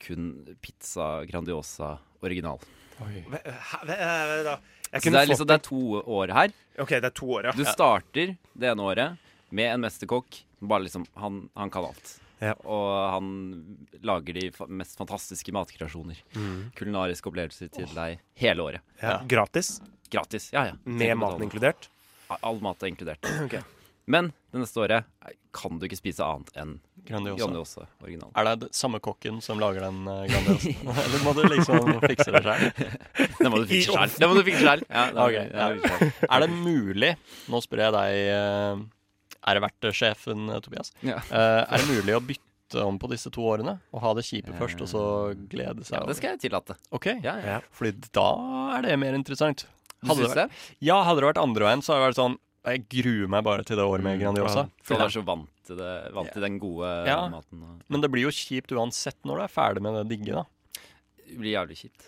C: kun pizza Grandiosa original.
B: Hæ, eh, hæ, hæ, da. Jeg
C: Så
B: kunne
C: det er, liksom,
B: fått
C: det er to år her.
B: OK, det er to år, ja.
C: Du starter det ene året med en mesterkokk. Bare liksom, han, han kan alt.
B: Ja.
C: Og han lager de fa mest fantastiske matkreasjoner. Kulinariske opplevelser til deg hele året.
B: ja. Gratis.
C: Gratis. Ja, ja.
B: Med
C: Trenger
B: maten
C: betale.
B: inkludert.
C: All mat er inkludert. Men det neste året kan du ikke spise annet enn
D: Grandiosa.
C: Grandiosa original.
D: Er det d- samme kokken som lager den eh, Grandiosa? Eller må du liksom fikse det sjøl?
C: Den må du fikse selv. Den må du fikse selv. Ja, den-
D: Ok,
C: den
D: ja.
C: må du fikse selv.
D: Er det mulig Nå spør jeg deg, eh, er det verdt det, sjefen eh, Tobias?
C: Ja.
D: Eh, er det mulig å bytte om på disse to årene? Og ha det kjipe først, og så glede seg?
C: Ja, det skal jeg tillate.
D: over? Ok,
C: Ja, ja.
D: Fordi da er det mer interessant.
C: Du
D: Hadde
C: syns
D: det vært,
C: det?
D: ja, hadde det vært andre veien, så hadde det vært sånn Jeg gruer meg bare til det året med Grandiosa.
C: For du er så vant til, det, vant til den gode
D: Ja.
C: maten. og-
D: Men det blir jo kjipt uansett når du er ferdig med det digge, da.
C: Det blir jævlig kjipt.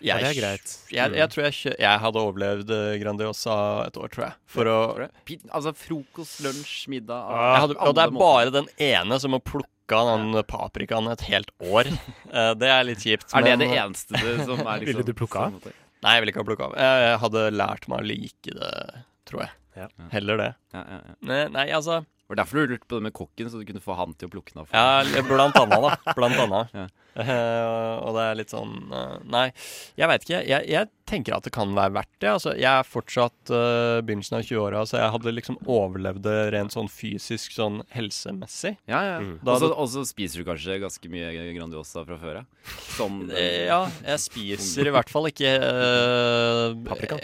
B: Ja, det er greit.
D: Jeg, jeg tror jeg, kjø- jeg hadde overlevd eh, Grandiosa et år, tror jeg. For å,
C: Pi- Altså frokost, lunsj, middag
B: Ah.
D: jeg hadde, og det er bare den ene som har plukka den paprikaen et helt år. Eh, Det er litt kjipt.
C: Er det det
D: men-
C: eneste du, som er liksom
B: Ville du plukke av?
C: sånn-
D: Nei, jeg ville ikke ha plukka av. Jeg hadde lært meg å like det, tror jeg.
B: Ja.
D: Heller det.
C: Ja, ja, ja.
D: Nei, nei, altså
C: Var det derfor du lurte på det med kokken, så du kunne få han til å plukke den av? for deg?
D: Ja, blant annet, da. Blant annet.
C: Ja.
D: Eh, og det er litt sånn eh, Nei, jeg veit ikke. Jeg, jeg tenker at det kan være verdt det. Altså, jeg er fortsatt eh, begynnelsen av 20-åra, så jeg hadde liksom overlevd det rent sånn fysisk, sånn helsemessig.
C: Ja, ja.
D: Mm. Da
C: Også- Og så spiser du kanskje ganske mye Grandiosa fra før av? Som
D: Eh, Ja, jeg spiser i hvert fall ikke uh,
B: Paprika?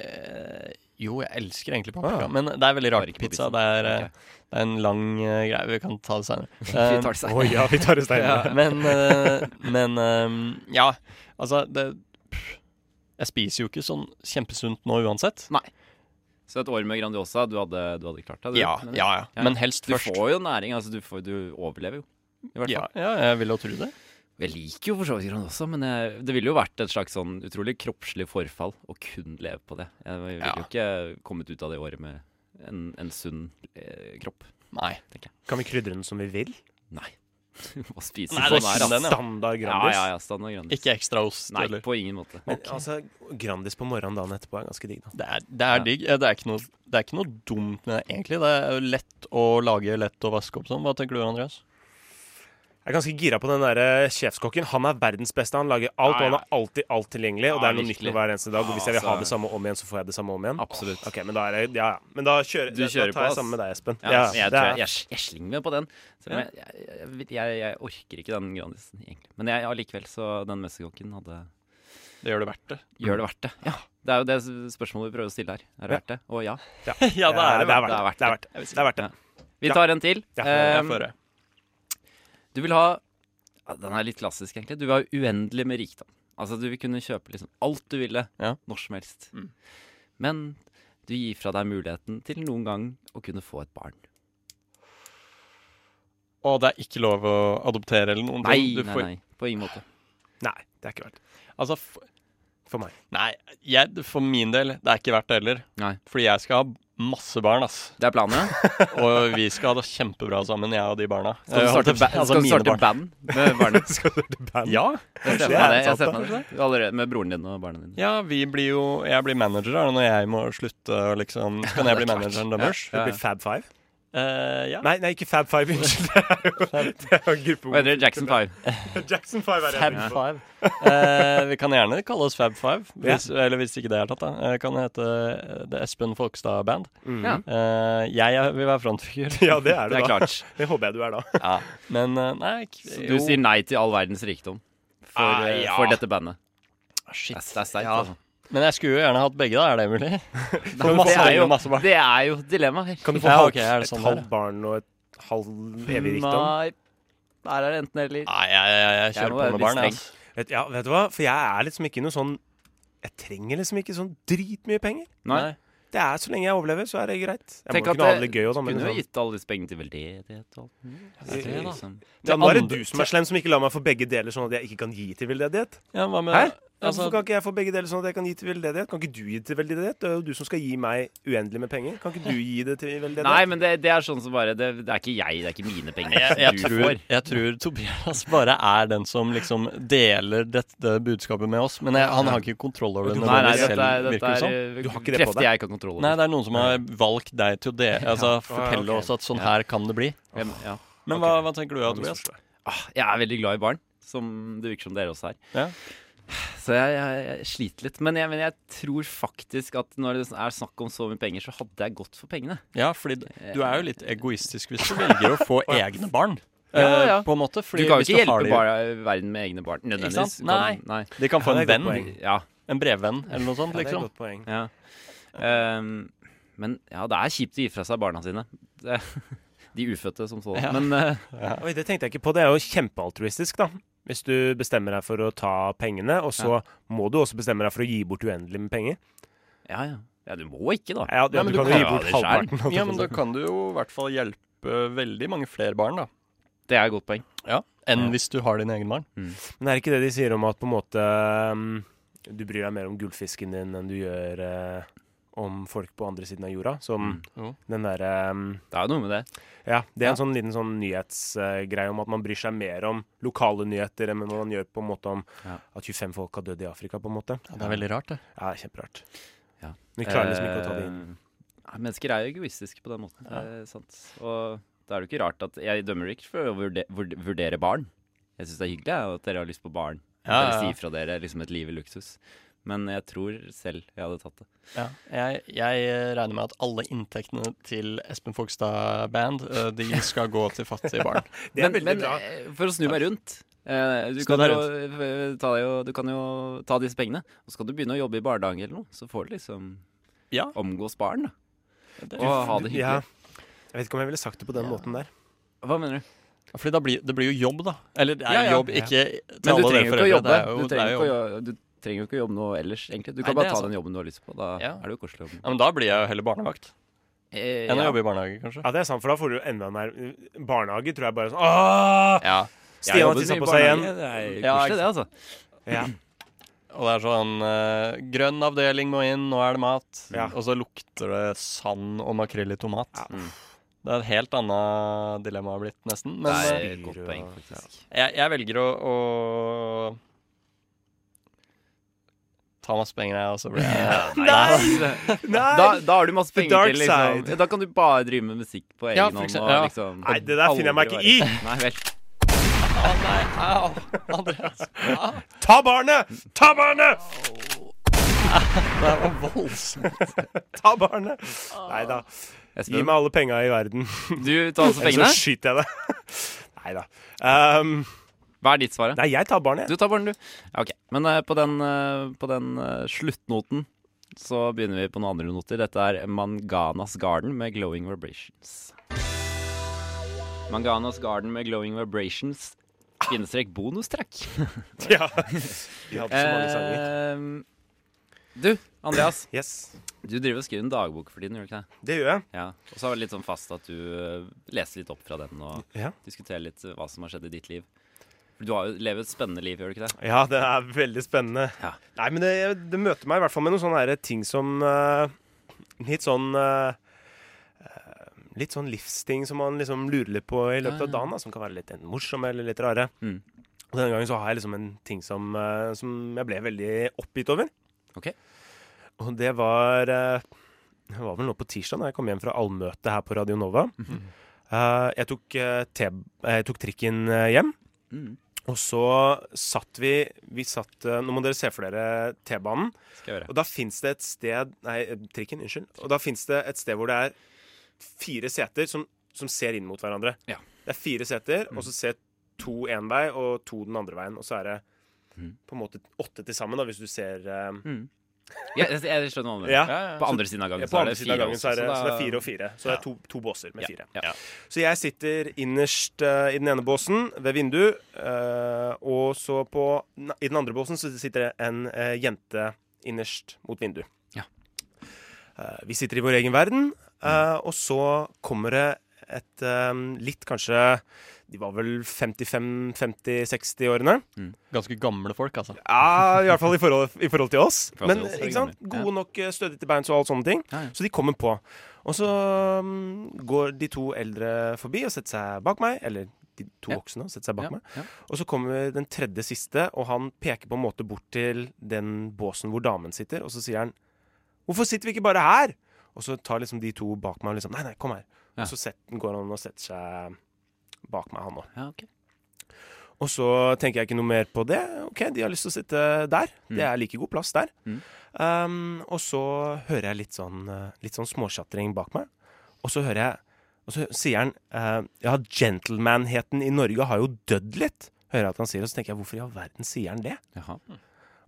D: jo, jeg elsker egentlig paprika, men det er veldig
C: Ah, Bare
D: rart.
C: ikke på
D: Pizza
C: pizzaen.
D: det er, eh,
C: Ok.
D: det er en lang eh, greie. Vi kan ta det Eh,
C: Vi
D: seinere.
C: tar det seg.
B: Å ja, vi tar det steinene.
D: ja, men eh, men eh, ja, altså det, pff, Jeg spiser jo ikke sånn kjempesunt nå uansett.
C: Så et år med Grandiosa, du hadde, du hadde klart deg? du,
D: Ja,
C: mener du?
D: ja, ja.
C: Ja.
D: Men helst
C: Du
D: først.
C: får jo næring, altså. Du, får, du overlever jo. I hvert fall.
D: Ja, ja, jeg vil jo tro det.
C: Jeg liker jo for så vidt Grandiosa, men jeg, det ville jo vært et slags sånn utrolig kroppslig forfall å kun leve på det. Jeg ville
D: Ja.
C: jo ikke kommet ut av det året med en, en sunn eh, kropp.
D: Nei.
B: Kan vi krydre den som vi vil?
C: Nei. Hva spiser
D: Nei,
C: man
D: det
C: her,
D: er
C: ass?
D: den, ja.
B: Standard
C: Ja,
B: Grandis.
C: ja, ja, standard Grandis.
D: Ikke ekstra ost.
C: Nei,
D: eller?
C: på ingen måte.
B: Men altså, Grandis på morgenen dagen etterpå er ganske digg, da.
D: Det er, det er
C: Ja.
D: digg. Eh, Det er, ikke noe, det er ikke noe dumt med det, egentlig. Det er jo lett å lage, lett å vaske opp sånn. Hva tenker du, Andreas?
B: Jeg er ganske gira på den der eh, sjefskokken. Han er verdens beste. Han lager alt, og
D: Ja, ja.
B: han har alltid alt tilgjengelig. Og
C: Ja,
B: det er noe nytt
C: virkelig.
B: med hver eneste dag. Og hvis jeg vil ha
C: altså.
B: det samme om igjen, så får jeg det samme om igjen.
C: Absolutt.
B: Ok, men da er jeg, ja, ja. Men da kjører,
C: Du
B: da- da
C: kjører
B: tar
C: på, ass.
B: jeg sammen med deg, Espen. Ja,
C: Ja, altså,
B: det
C: jeg, tror
B: er-
C: jeg, jeg, jeg slenger meg på den. Selv om jeg, jeg, jeg, jeg, jeg orker ikke den Grandisen, egentlig. Men jeg allikevel, så den mesterkokken hadde
D: Det gjør det verdt det.
C: Gjør det verdt det. Ja. Det er jo det spørsmålet vi prøver å stille her. Er det verdt det? Å ja.
D: ja, det er det.
B: verdt det. Det er verdt det. Det er verdt det.
C: Vi
B: Ja.
C: tar en til.
B: Ja,
D: Jeg
C: Ehm,
D: får høre.
C: Du vil ha ja, Den er litt klassisk, egentlig. Du vil ha uendelig med rikdom. Altså, du vil kunne kjøpe liksom alt du ville,
D: Ja.
C: når som helst.
D: Mm.
C: Men du gir fra deg muligheten til noen gang å kunne få et barn.
D: Og det er ikke lov å adoptere eller noen
C: Nei,
D: ting. Du
C: nei,
D: får-
C: nei. På ingen måte.
B: Nei, det er ikke verdt det.
D: Altså, f
B: For meg.
D: nei, jeg, for min del, det er ikke verdt det heller.
C: Nei.
D: Fordi jeg skal ha masse barn, ass.
C: Det er planen.
D: Og vi skal ha det kjempebra sammen, jeg og de barna.
C: Skal du starte,
D: Eh, holdt jeg på
C: ba
D: å si, altså
C: skal du
D: mine
C: starte
D: barn.
C: band med barna?
B: Skal du til band?
D: Ja,
C: Jeg
B: det
C: ser for meg
B: er
C: det. Jeg
B: sant,
C: ser for meg det. Allerede med broren din og barna dine.
D: ja vi blir jo, jeg blir manager da, når jeg må slutte. og Liksom, så kan
C: det
D: jeg
C: er
D: bli
C: klart.
D: manageren deres.
B: Det blir Fab Five?
D: Eh, ja.
B: Nei, nei, ikke Fab Five. Unnskyld. Det er jo det er jo gruppe
C: Hva heter det? Jackson 5.
B: Jackson Five er det.
D: Fab
B: jeg tenker på.
D: Five. Eh, vi kan gjerne kalle oss Fab Five, hvis, eller hvis ikke det er tatt, da. Eh, kan det hete eh, The Espen Folkstad Band.
B: Mm.
C: Ja.
D: Eh, jeg er- vil være frontfigur.
B: Ja, det er det,
C: Det er
B: da.
C: klart.
B: Det håper jeg du er da.
D: Ja. Men eh, nei ikke-
C: Så
D: jo.
C: du sier nei til all verdens rikdom for,
D: Ah,
C: eh,
D: ja.
C: for dette bandet.
D: Shit.
C: Det er det er sterkt.
D: Ja.
C: altså.
D: Men jeg skulle jo gjerne hatt begge, da. Er det mulig?
C: Det
D: masse
C: er jo-
D: barn, masse barn.
C: Det er jo dilemmaet her.
B: Kan du få
D: Ja,
B: halvt-
D: ok, er det
B: et
D: sånn det er,
B: halvt barn og et halvt evig rikdom? Ah,
C: Nei, Der er det enten eller.
D: Nei, jeg, jeg, jeg
C: Jeg
D: kjører
C: må
D: på
C: være
D: med
C: litt
D: barn. jeg, altså.
C: streng.
D: ass.
B: Vet, ja, vet du hva? For jeg er liksom ikke noe sånn Jeg trenger liksom ikke sånn dritmye penger.
C: Nei.
D: Nei.
B: Det er Så lenge jeg overlever, så er det greit. Jeg
C: Tenk
B: må
C: at
B: kunne ha
C: det-
B: det litt gøy og sånn. men
C: Kunne jo
B: Liksom.
C: gitt alle disse pengene til veldedighet og alt. mulig.
D: det er det, da.
C: Liksom.
B: Ja, nå er det
D: andre-
B: du som er slem, som ikke lar meg få begge deler, sånn at jeg ikke kan gi til veldedighet.
D: Ja, hva med
C: Hæ?
B: Ja,
D: Altså,
B: Hvorfor kan ikke jeg få begge deler sånn at jeg kan gi til veldedighet? Kan ikke du gi til veldedighet? Det er jo du som skal gi meg uendelig med penger. Kan ikke du gi det til veldedighet?
C: Nei, men det, det er sånn som bare det, det er ikke jeg, det er ikke mine penger.
D: jeg, jeg,
C: du
D: tror,
C: får.
D: jeg tror Tobias bare er den som liksom deler dette budskapet med oss, men jeg, han har ikke kontroll over det
C: Nei, nei,
D: nødvendigvis
C: dette er,
D: selv,
C: dette
D: virker det
C: er
D: som.
C: eh,
B: Du har ikke det på
C: krefter
B: deg.
C: jeg ikke har kontroll
D: Nei,
C: over.
D: det er noen som har valgt deg til å dele, altså fortelle
B: ok.
D: oss at sånn her kan det bli.
C: Jeg, ja.
D: Men hva, hva tenker du da, Tobias?
C: ah, jeg er veldig glad i barn, som det virker som dere også er.
D: Ja.
C: Så jeg, jeg, jeg sliter litt. Men jeg, men jeg tror faktisk at når det er snakk om så mye penger, så hadde jeg gått for pengene.
D: Ja, fordi du er jo litt egoistisk hvis du velger å få egne barn.
C: Ja, ja.
D: eh, På en måte.
C: Du
D: Fordi
C: kan jo
D: hvis
C: ikke hjelpe
D: har de-
C: barn, verden med egne barn. Nødvendigvis.
D: sant? Nei.
C: Kan, nei.
D: De kan få
B: Ja,
D: en
B: det er et godt
D: venn.
B: poeng.
C: Ja,
D: En brevvenn eller noe sånt,
B: Ja, det er et
D: liksom.
B: godt poeng.
C: ja. Ehm, men ja, det er kjipt å gi fra seg barna sine. Det, de ufødte som så.
D: Ja.
C: Men eh,
B: Oi, det tenkte jeg ikke på. Det er jo kjempealtruistisk, da. Hvis du bestemmer deg for å ta pengene, og så må du også bestemme deg for å gi bort uendelig med penger.
C: ja, ja. ja, du må ikke, da.
B: Ja, du,
D: Ja,
B: du kan
D: men du
B: jo
D: kan
B: gi
C: jo ha
B: bort
C: det selv.
B: halvparten. altså,
D: Ja, men da kan du jo i hvert fall hjelpe veldig mange flere barn, da.
C: Det er et godt poeng.
D: Ja. Enn hvis du har din egen barn.
B: Men er det ikke det de sier om at på en måte mm, du bryr deg mer om gullfisken din enn du gjør eh, om folk på andre siden av jorda? Som
C: Mm.
D: Jo.
B: den derre mm,
C: Det er jo noe med det.
B: Ja, det er en sånn liten sånn nyhetsgreie om at man bryr seg mer om lokale nyheter enn man gjør på en måte om
C: Ja.
B: at 25 folk har dødd i Afrika, på en måte.
D: Ja, det er veldig rart, det.
B: Ja, det er kjemperart.
C: Ja.
B: Vi klarer liksom ikke å ta det inn.
C: Eh, nei, mennesker er jo egoistiske på den måten. Det er sant. Og da er det jo ikke rart at jeg dømmer dere ikke for å vurde, vurde, vurdere barn. Jeg syns det er hyggelig jeg, at dere har lyst på barn. At
D: Ja, ja,
C: Dere
D: ja.
C: sier fra dere liksom et liv i luksus. Men jeg tror selv jeg hadde tatt det.
D: Ja. Jeg, jeg regner med at alle inntektene til Espen Fogstad Band eh, De skal gå til fattige barn.
B: Det er
C: Men,
B: veldig
C: men
B: bra.
C: eh, for å snu meg rundt eh, du,
D: Snu
C: kan
D: deg
C: jo, eh, ta deg jo, du kan jo ta disse pengene, og så kan du begynne å jobbe i barnehage eller noe. Så får du liksom
D: Ja.
C: omgås barn, da.
D: Det-
C: Og ha
B: Ja.
C: det hyggelig.
B: Jeg vet ikke om jeg ville sagt det på den måten der.
C: Hva mener du?
D: Fordi da blir, det blir jo jobb, da. Eller det er
C: Ja, ja.
D: jobb, ikke til
C: Men du
D: alle dere
C: trenger jo ikke å
D: foreldre.
C: jobbe.
D: Det er jo,
C: Du
D: det er
C: trenger
D: jo
C: jo ikke å
D: jobb.
C: gjøre- du trenger jo ikke å jobbe noe ellers, egentlig. Du
D: Nei,
C: kan
D: det
C: bare
D: er
C: ta
D: sant.
C: den jobben du har lyst på. Da
D: Ja.
C: er det jo koselig å jobbe.
D: Ja, men da blir jeg jo heller barnevakt
C: Eh,
D: enn å
C: ja.
D: jobbe i barnehage, kanskje.
B: Ja, det er sant, for da får du jo enda mer Barnehage tror jeg bare er sånn Åh!
D: Ja.
C: Jeg
B: Stian har
C: jobbet
B: tissa
C: mye i
B: på seg igjen.
C: barnehage, Det er
D: Ja,
C: koselig, det, altså.
B: Ja.
D: Og det er sånn eh, Grønn avdeling må inn, nå er det mat.
B: Ja.
D: Og så lukter det sand og makrell i tomat.
B: Ja.
C: Mm.
D: Det er et helt annet dilemma blitt, nesten. Men
C: det
D: eh,
C: er et godt poeng, faktisk.
D: jeg, jeg velger å, å ta masse penger, jeg, og så blir jeg
C: Nei! Da, da har du masse
B: The
C: penger
B: dark
C: til liksom.
B: side.
C: Da kan du bare drive med musikk på egen
D: Ja, for
C: hånd. og
D: eksempel, ja.
C: liksom,
B: Nei, det der finner jeg meg
C: aldri
B: ikke
C: være-
B: i!
C: Nei vel.
D: Å nei, au! Andreas. Au.
B: Ta barnet! Ta barnet!
D: Det var voldsomt.
B: Ta barnet! Nei da. Gi
C: Espen,
B: meg alle penga i verden,
C: du tar
B: eller
C: også
B: så
C: pengene.
B: skyter jeg det. Nei da. Um,
C: Hva er ditt svar? da?
B: nei, jeg tar barnet, jeg.
C: Du tar barn, du. Ja, Ok, Men eh, på den, eh, på den eh, sluttnoten så begynner vi på noen andre noter. Dette er Manganas Garden med Glowing Vibrations. Manganas Garden med Glowing Vibrations. Bindestrek bonustrekk.
B: Ja. Vi hadde så mange
C: Eh.
B: sanger.
C: du, Andreas.
B: Yes.
C: Du driver og skriver en dagbok for tiden, gjør du ikke det?
B: Det gjør jeg.
C: Ja, og så er det litt sånn fast at du eh, leser litt opp fra den og
B: Ja.
C: diskuterer litt eh, hva som har skjedd i ditt liv. For Du har jo lever et spennende liv, gjør du ikke det?
B: Ja, det er veldig spennende.
C: Ja.
B: Nei, men det, det møter meg i hvert fall med noen sånne her ting som eh, Litt sånn eh, eh, Litt sånn livsting som man liksom lurer litt på i løpet av dagen, da, som kan være litt enten morsomme eller litt rare.
C: Mm.
B: Og denne gangen så har jeg liksom en ting som, eh, som jeg ble veldig oppgitt over.
C: Ok.
B: Og det var eh, Det var vel nå på tirsdag, da jeg kom hjem fra allmøte her på Radio Nova.
C: Mhm.
B: Eh, jeg, tok, eh, T- jeg tok trikken eh, hjem.
C: Mm.
B: Og så satt vi, vi satt, eh, Nå må dere se for dere T-banen.
C: Skal jeg gjøre.
B: Og da fins det et sted Nei, eh, trikken. Unnskyld. Og da fins det et sted hvor det er fire seter som, som ser inn mot hverandre.
C: Ja. Mm.
B: Det er fire seter, og så ser to én vei og to den andre veien. Og så er det
C: Mm.
B: på en måte åtte til sammen, da, hvis du ser eh,
C: Mm. Ja, jeg, jeg skjønner hva du mener.
B: Ja.
D: Ja,
C: På andre siden av gangen,
B: På
C: så er
B: andre
C: det
B: siden av
C: fire.
B: gangen så
C: også,
B: er det, så det er
C: da-
B: fire og fire. Så det er to, to båser med
C: Ja,
B: fire.
C: ja.
B: Så jeg sitter innerst eh, i den ene båsen ved vindu, eh, og så på, den- i den andre båsen så sitter det en eh, jente innerst mot vindu.
C: Ja.
B: Eh, vi sitter i vår egen verden, eh,
C: Mm.
B: og så kommer det et eh, litt kanskje De var vel 55-50-60-årene.
D: Ganske gamle folk, altså.
B: Ja, i hvert fall i forhold, i forhold til oss.
C: I forhold
B: Men
C: til oss, er det
B: ikke sant?
C: gammel.
B: gode nok eh, stødig til beins og alt sånne ting.
C: Ja, ja.
B: Så de kommer på. Og så mm, går de to eldre forbi og setter seg bak meg. Eller de to
C: Ja.
B: voksne og setter seg bak
C: Ja,
B: meg.
C: ja.
B: Og så kommer den tredje siste, og han peker på en måte bort til den båsen hvor damen sitter, og så sier han Hvorfor sitter vi ikke bare her? Og så tar liksom de to bak meg og liksom Nei, nei, kom her.
C: Ja.
B: Og så setter, går han og setter seg bak meg, han òg.
C: Ja, ok.
B: Og så tenker jeg ikke noe mer på det. Ok, de har lyst til å sitte der. Det er like god plass der.
C: Mm.
B: Um, og så hører jeg litt sånn, eh, litt sånn småsjatring bak meg. Og så hører jeg Og så sier han eh, Ja, gentlemanheten i Norge har jo dødd litt. Hører jeg at han sier, Og så tenker jeg, hvorfor i all verden sier han det?
C: Jaha.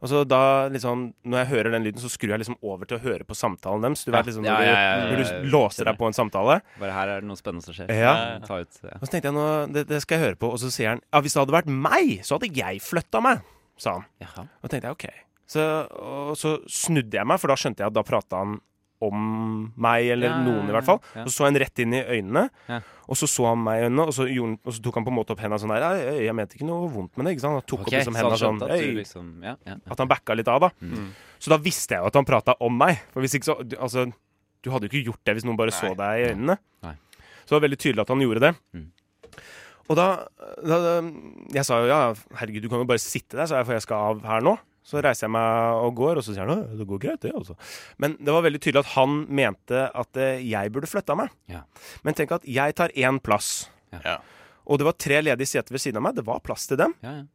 B: Og så da liksom, Når jeg hører den lyden, så skrur jeg liksom over til å høre på samtalen deres. Du
C: Ja.
B: vet liksom
C: Ja,
B: når,
C: ja, ja, ja,
B: du,
C: ja,
B: når
C: ja.
B: du låser deg på en samtale.
C: Bare her er det noe spennende som skjer.
B: Ja.
C: Ta ut, ja.
B: Og så tenkte jeg nå, det, det skal jeg høre på. Og så sier han ja, hvis det hadde vært meg, så hadde jeg flytta meg. sa han.
C: Jaha.
B: Og tenkte jeg, ok. Så, og så snudde jeg meg, for da skjønte jeg at da prata han om meg, eller
C: Ja, ja,
B: noen
C: ja,
B: i hvert fall.
C: ja.
B: Og så så han rett inn i øynene,
C: Ja.
B: og så så han meg i øynene, og så, gjorde, han- og så tok han på en måte opp henda sånn her. Jeg, jeg mente ikke noe vondt med det, ikke sant? Han tok
C: Ok,
B: opp liksom henda
C: så han
B: sånn.
C: skjønte at
B: «Øy»,
C: du liksom Ja, ja.
B: at han backa litt av, da.
C: Mm.
B: Så da visste jeg jo at han prata om meg. For hvis ikke så du- Altså, du hadde jo ikke gjort det hvis noen bare så deg i øynene.
C: Nei.
B: Så det var veldig tydelig at han gjorde det.
C: Mm.
B: Og da, da Jeg sa jo ja, herregud, du kan jo bare sitte der, sa jeg, for jeg skal av her nå. Så reiser jeg meg og går, og så sier han ja, det går greit, det, altså. Men det var veldig tydelig at han mente at eh, jeg burde flytta meg.
C: Ja.
B: Men tenk at jeg tar én plass.
C: Ja.
D: Ja.
B: Og det var tre ledige seter ved siden av meg. Det var plass til dem.
C: ja, ja.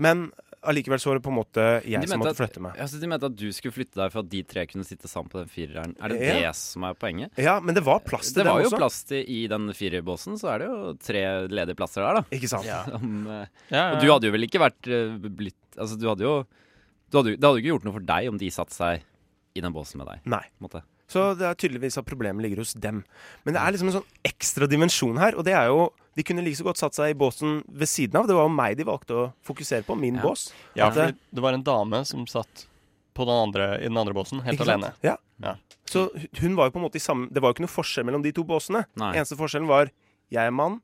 B: Men allikevel så var det på en måte jeg
C: De
B: som
C: mente
B: måtte flytte meg.
C: At, altså, de mente at du skulle flytte deg for at de tre kunne sitte sammen på den fireren. Er det
B: Ja.
C: det som er poenget?
B: Ja, men det var plass til
C: det var
B: dem
C: jo
B: også.
C: plass til I den firerbåsen så er det jo tre ledige plasser der, da.
B: Ikke sant?
C: Som, eh,
D: Ja,
C: og du hadde jo vel ikke vært eh, blitt Altså, du hadde jo du hadde, jo- Det hadde jo ikke gjort noe for deg om de satte seg i den båsen med deg.
B: Nei.
C: På en måte.
B: Så det er tydeligvis at problemet ligger hos dem. Men det er liksom en sånn ekstra dimensjon her, og det er jo De kunne like så godt satt seg i båsen ved siden av. Det var jo meg de valgte å fokusere på. Min
C: Ja.
B: bås.
D: ja,
B: At
D: fordi
B: det-
D: det var en dame som satt på den andre, i den andre båsen, helt
B: ikke sant?
D: alene.
B: Ja.
D: Ja.
B: Så hun var jo på en måte i samme Det var jo ikke noe forskjell mellom de to båsene.
C: Nei.
B: Eneste forskjellen var jeg er mann,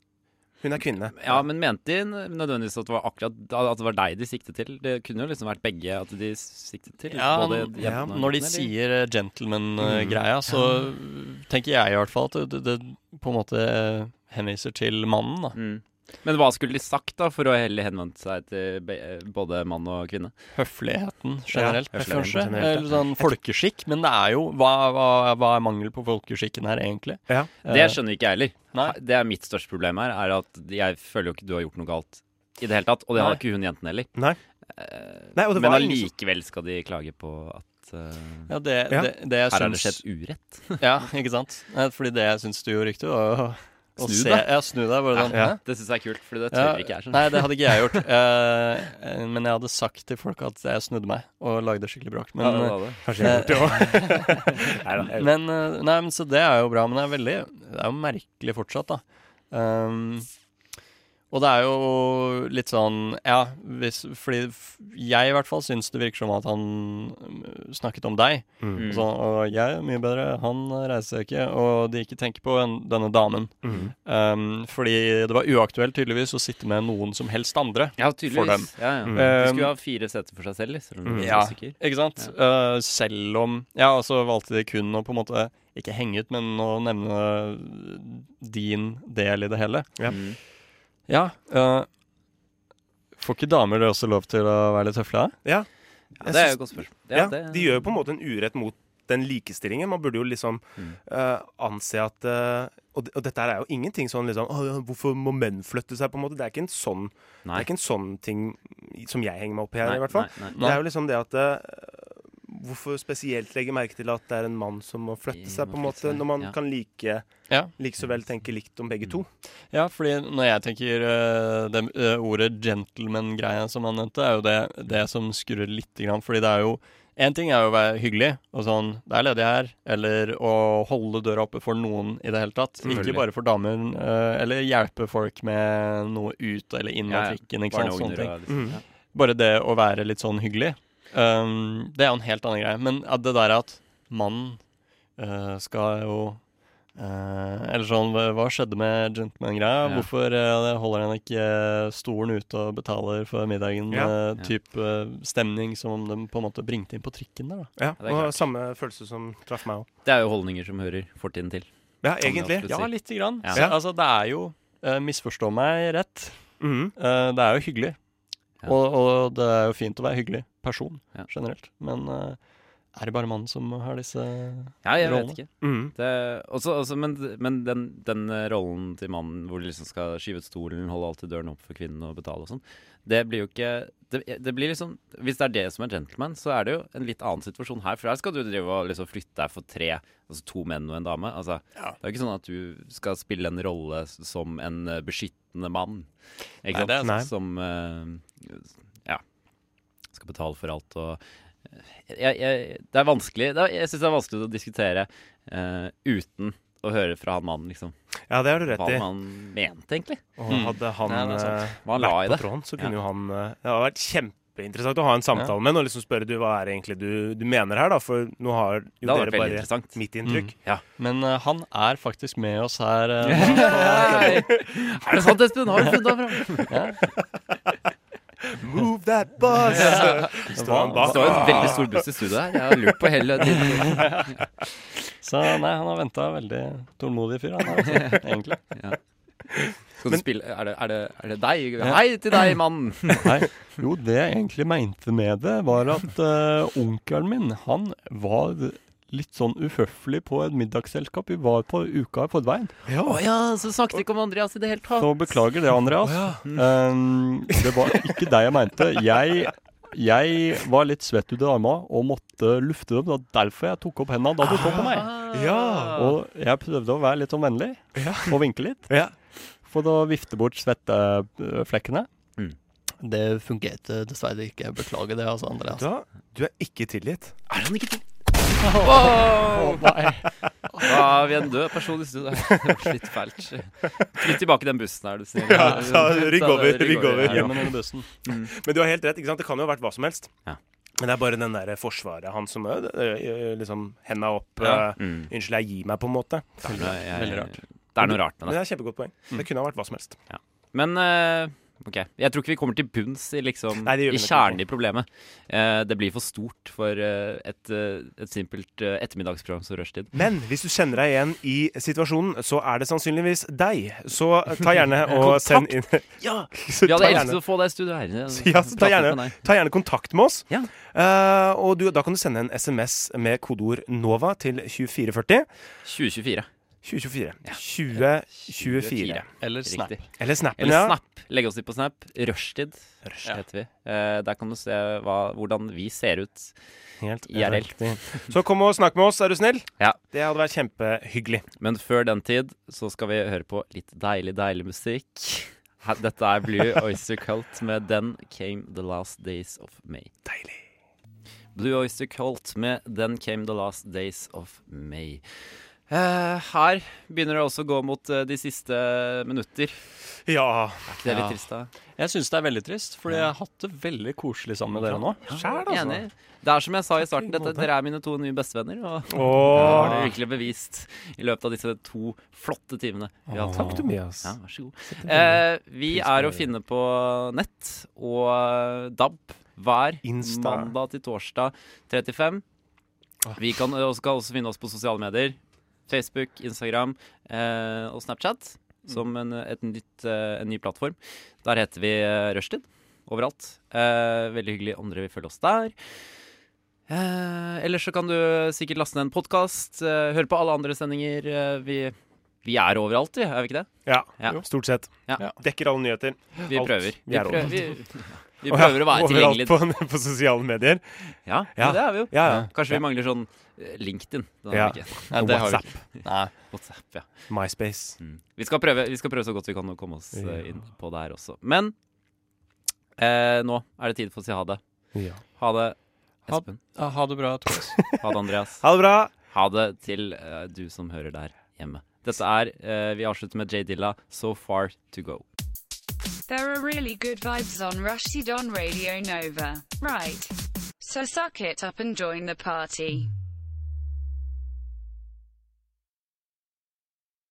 B: hun er kvinne.
C: Ja, men mente de nødvendigvis at det var akkurat At det var deg de siktet til? Det kunne jo liksom vært begge at de siktet til.
D: Ja,
C: både
D: men-
C: jentene
B: ja,
C: og
D: Når
C: guttene,
D: de
C: eller?
D: sier eh, gentleman-greia, så tenker jeg i hvert fall at det, det på en måte eh, henviser til mannen, da.
C: Mm. Men hva skulle de sagt da for å heller henvende seg til be- både mann og kvinne?
D: Høfligheten generelt,
B: høfligheten
D: kanskje.
B: generelt, ja.
D: Eller sånn folkeskikk. Men det er jo Hva, hva, hva er mangel på folkeskikken her, egentlig? Eh,
B: Ja.
C: Eh, Det skjønner ikke jeg heller.
D: Nei.
C: Det er mitt største problem her, er at jeg føler jo ikke du har gjort noe galt i det hele tatt. Og det har
D: Nei.
C: ikke hun jenten heller.
B: Nei.
C: Eh,
B: Nei, og det
C: Men
B: var ingen
C: allikevel skal de klage på at eh,
D: Ja, det,
B: Ja.
D: Det, det jeg
C: her har det
D: syns-
C: skjedd urett.
D: Ja, ikke sant? Nei, Fordi det jeg syns du gjorde riktig, var å, å
C: Snu
D: se
C: deg.
D: Ja, snu deg. Bare sånn.
B: Ja.
D: hæ?
C: Det syns jeg er sånn. kult, for det
D: Ja,
C: tør ikke jeg.
D: nei,
C: skjønner
D: det hadde ikke jeg gjort. Eh, men jeg hadde sagt til folk at jeg snudde meg og lagde skikkelig bråk.
C: du.
D: Men,
C: Ja, det var det.
B: Kanskje jeg har gjort det òg. Neida, jeg-
D: men, eh, nei, men Så det er jo bra. Men det er veldig Det er jo merkelig fortsatt, da. Um, og det er jo litt sånn Ja, hvis, fordi f- jeg i hvert fall syns det virker som at han mm, snakket om deg.
B: Mm.
D: Og Så, og jeg er mye bedre, han reiser seg ikke, og de ikke tenker på en, denne damen.
B: Mm.
D: Um, fordi det var uaktuelt tydeligvis å sitte med noen som helst andre.
C: Ja,
D: For dem.
C: tydeligvis. Ja, ja.
B: Mm.
C: De
D: Um,
C: skulle ha fire seter for seg selv. Liksom,
B: Mm.
C: hvis
D: Ja.
C: jeg er sikker.
D: Ikke sant? Uh, selv om Ja, og så valgte de kun å på en måte ikke henge ut, men å nevne eh, din del i det hele.
B: Ja.
C: Mm.
D: Ja. Uh, får ikke damer det også lov til å være litt høflige?
C: Ja, det er jo
B: syns-
C: et godt spørsmål.
B: Ja,
C: det-
B: De gjør jo på en måte en urett mot den likestillingen. Man burde jo liksom
C: Mm.
B: eh, anse at eh, og, d- og dette her er jo ingenting sånn liksom «Å, ja, Hvorfor må menn flytte seg? på en måte Det er ikke en sånn, det
C: Nei.
B: er ikke en sånn ting som jeg henger meg opp i her,
C: Nei,
B: i hvert fall.
C: Nei, nei.
B: Det er jo liksom det at eh, Hvorfor spesielt legge merke til at det er en mann som må flytte
C: Ja,
B: seg, på en
C: må
B: måte,
C: flytte seg,
B: når man
C: ja. Mm.
B: kan like,
D: Ja.
B: like så vel tenke likt om begge to?
D: Ja, fordi når jeg tenker eh, det eh, ordet gentleman-greia som han nevnte, er jo det, det som skurrer litt, grann, fordi det er jo En ting er jo å være hyggelig og sånn 'Det er ledig her', eller å holde døra oppe for noen i det hele tatt. Ikke
C: Selvfølgelig.
D: bare for damer, eh, eller hjelpe folk med noe ut eller inn
C: Ja,
D: av
C: ja.
D: trikken. ikke sant, sånne ting.
C: og liksom.
B: Mm.
C: ja.
D: Bare det å være litt sånn hyggelig, um, det er jo en helt annen greie. Men at det der at mannen eh, skal jo eh, Eller sånn, hva hva skjedde med gentleman-greia?
C: Ja.
D: Hvorfor eh, holder han ikke eh, stolen ute og betaler for middagen?
B: Ja.
D: eh,
C: Ja.
D: typ eh, stemning som de på en måte bringte inn på trikken der, da.
B: Ja,
C: det er
B: og
C: klart.
B: Samme følelse som traff meg òg.
C: Det er jo holdninger som hører fortiden til.
B: Ja,
C: Kan vi
B: egentlig.
C: absolutt
D: Ja,
C: si.
D: lite grann.
C: Ja.
D: Så, altså, det er jo eh, Misforstå meg rett.
B: Mhm.
D: Eh, det er jo hyggelig.
C: Ja.
D: Og, og det er jo fint å være hyggelig person
C: Ja.
D: generelt. Men eh, er det bare mannen som har disse
C: Ja, jeg
D: Rollene.
C: vet ikke.
B: Mhm.
C: Det, også, også, men men den, den eh, rollen til mannen hvor de liksom skal skyve ut stolen, holde alltid døren opp for kvinnen og betale og sånn, det blir jo ikke det, det blir liksom, Hvis det er det som er gentleman, så er det jo en litt annen situasjon her. For her skal du drive og liksom flytte deg for tre, altså to menn og en dame. Altså, Det er jo ikke sånn at du skal spille en rolle s- som en eh, beskyttende mann. Ikke sant?
D: det er
B: sant. Nei.
C: Som eh, ja, skal betale for alt og eh, jeg, jeg, det er vanskelig det er, Jeg syns det er vanskelig å diskutere eh, uten å høre fra han mannen, liksom.
B: Ja, det har du rett
C: Hva
B: i.
C: han mente, egentlig.
B: Og
D: Mm.
B: hadde han
C: Nei, det er sant.
B: eh,
C: Hva han la i
B: vært på
C: det.
B: tråden, så
C: Ja.
B: kunne jo han eh, Det hadde vært kjempeinteressant å ha en samtale med ham og liksom spørre du, hva er det egentlig du, du mener her, da? For nå har
C: Det
B: jo dere
C: hadde vært veldig
B: bare
C: interessant.
B: mitt inntrykk.
D: Men eh, han er faktisk med oss her. eh,
C: Hei! Er det sant, Espen? Har du funnet ham fra?
B: Move that bus! Står han
C: Mm. Det
B: bak?
C: står jo en veldig stor buss i studio her. Jeg har lurt på hele tiden.
D: så nei, han har venta veldig tålmodig fyr, han er også, egentlig.
C: Skal du spille Er det, er det, er det deg? Hei til deg, mann!
D: Nei. Jo, det jeg egentlig mente med det, var at eh, onkelen min, han var litt sånn uhøflig på et middagsselskap vi var på uka i forveien.
C: Å ja, så snakket vi ikke om Andreas i det hele tatt.
D: Så beklager det, Andreas. Um, det var ikke deg jeg mente. Jeg, jeg var litt svett ut i armene og måtte lufte dem. Det var derfor jeg tok opp hendene da du så på meg.
B: Ja.
D: Og jeg prøvde å være litt sånn vennlig
B: Ja.
D: og vinke litt
B: Ja.
D: for å vifte bort eh, svetteflekkene.
C: Mm.
D: Det fungerte dessverre ikke. Beklager det, altså, Andreas.
B: Da, du er ikke tilgitt.
C: Er han ikke død?
D: Å, nei.
C: Da er vi en død person i studio. her. Det var Litt fælt. Flytt tilbake den bussen her, du snill.
B: Ja, ta- rygg over, rygg over.
C: ja.
D: Hjem med denne bussen.
B: Men du har helt rett. ikke sant? Det kan jo ha vært hva som helst.
C: Ja.
B: Men det er bare den der forsvaret han som øh, øh, liksom Henda opp.
D: Ja.
B: øh,
C: Mm.
B: Unnskyld, jeg gir meg, på en måte.
C: Det er, jeg,
D: Veldig rart.
C: Det er noe rart
B: Men
C: med
B: det
C: det.
B: er et kjempegodt poeng. Det kunne ha vært hva som helst.
C: Men eh, ok, jeg tror ikke vi kommer til bunns i, liksom,
B: Nei, det gjør
C: i
B: vi nok
C: kjernen i problemet. Eh, det blir for stort for eh, et, eh, et simpelt eh, ettermiddagsprogram som rushtid.
B: Men hvis du kjenner deg igjen i situasjonen, så er det sannsynligvis deg. Så ta gjerne og send inn Ja! Så
C: Vi
B: ta
C: hadde elsket
B: gjerne,
C: å få deg i studio her. Eh,
B: Ja, så ta
C: Prate litt
B: gjerne-
C: med deg.
B: ta gjerne kontakt med oss.
C: Ja.
B: Eh, og du, da kan du sende en SMS med kodeord NOVA til 2440.
C: 2024.
B: 2024.
C: Ja.
B: 2024.
D: Eller snap.
C: Riktig.
B: Eller snappen,
C: Eller
B: ja.
C: Snap. Legg oss inn på Snap. Rushtid heter vi. Eh, der kan du se hva, hvordan vi ser ut.
B: Helt
C: IRL.
B: riktig. Så kom og snakk med oss, er du snill.
C: Ja.
B: Det hadde vært kjempehyggelig.
C: Men før den tid så skal vi høre på litt deilig, deilig musikk. Her- Dette er Blue Oyster Cult med Then Came The Last Days Of May.
B: Deilig.
C: Blue Oyster Cult med Then Came The Last Days Of May. Eh, her begynner det også å gå mot eh, de siste minutter.
B: Ja.
C: Er ikke det litt
D: Ja.
C: trist, da?
D: Jeg syns det er veldig trist, fordi jeg har hatt det veldig koselig sammen med dere nå.
B: Skjær, altså.
C: Enig. Det er som jeg sa i starten,
B: Takk i
C: dette,
B: måte.
C: dere er mine to nye bestevenner. Og det
B: Åh.
C: har dere virkelig bevist i løpet av disse to flotte timene. vi har hatt.
B: Takk, Tobias.
C: Ja, vær så god. Eh, vi er å finne på nett og eh, DAB hver
B: Insta.
C: mandag til torsdag 35. Vi kan eh, også, kan også finne oss på sosiale medier. Facebook, Instagram eh, og Snapchat som en, et nytt, eh, en ny plattform. Der heter vi eh, Rushtid overalt. Eh, veldig hyggelig om dere vil følge oss der. Eh, ellers så kan du sikkert laste ned en podkast, eh, høre på alle andre sendinger. Eh, vi, vi er overalt, vi, er vi ikke det?
B: Ja.
C: Ja.
B: Jo, Stort sett.
C: Ja.
B: Dekker alle nyheter.
C: Vi
B: Alt.
C: prøver.
B: Vi er
C: prøver,
B: overalt.
C: vi, vi prøver å være
B: Overalt
C: tilgjengelig.
B: På, på sosiale medier.
C: Ja,
B: Ja.
C: men det er vi jo.
B: Ja, ja.
C: Kanskje vi mangler sånn eh, LinkedIn. Det har
B: Ja.
C: vi ikke.
D: Nei, det har vi
B: WhatsApp,
D: ikke. Nei.
C: WhatsApp, ja.
B: MySpace.
C: Mm. Vi, skal prøve, vi skal prøve så godt vi kan å komme oss eh,
B: Ja.
C: inn på der også. Men eh, nå er det tid for å si ha det.
B: Ja.
C: Ha det.
D: Ha-
C: Espen.
D: Ja, ha det bra, Thomas.
C: Ha det, Andreas.
B: Ha det bra.
C: Ha det til eh, du som hører der hjemme. Dette er eh, Vi avslutter med Jay Dilla, 'So Far To Go'.
H: There are really good vibes on Rushdie on Radio Nova. Right. So suck it up and join the party.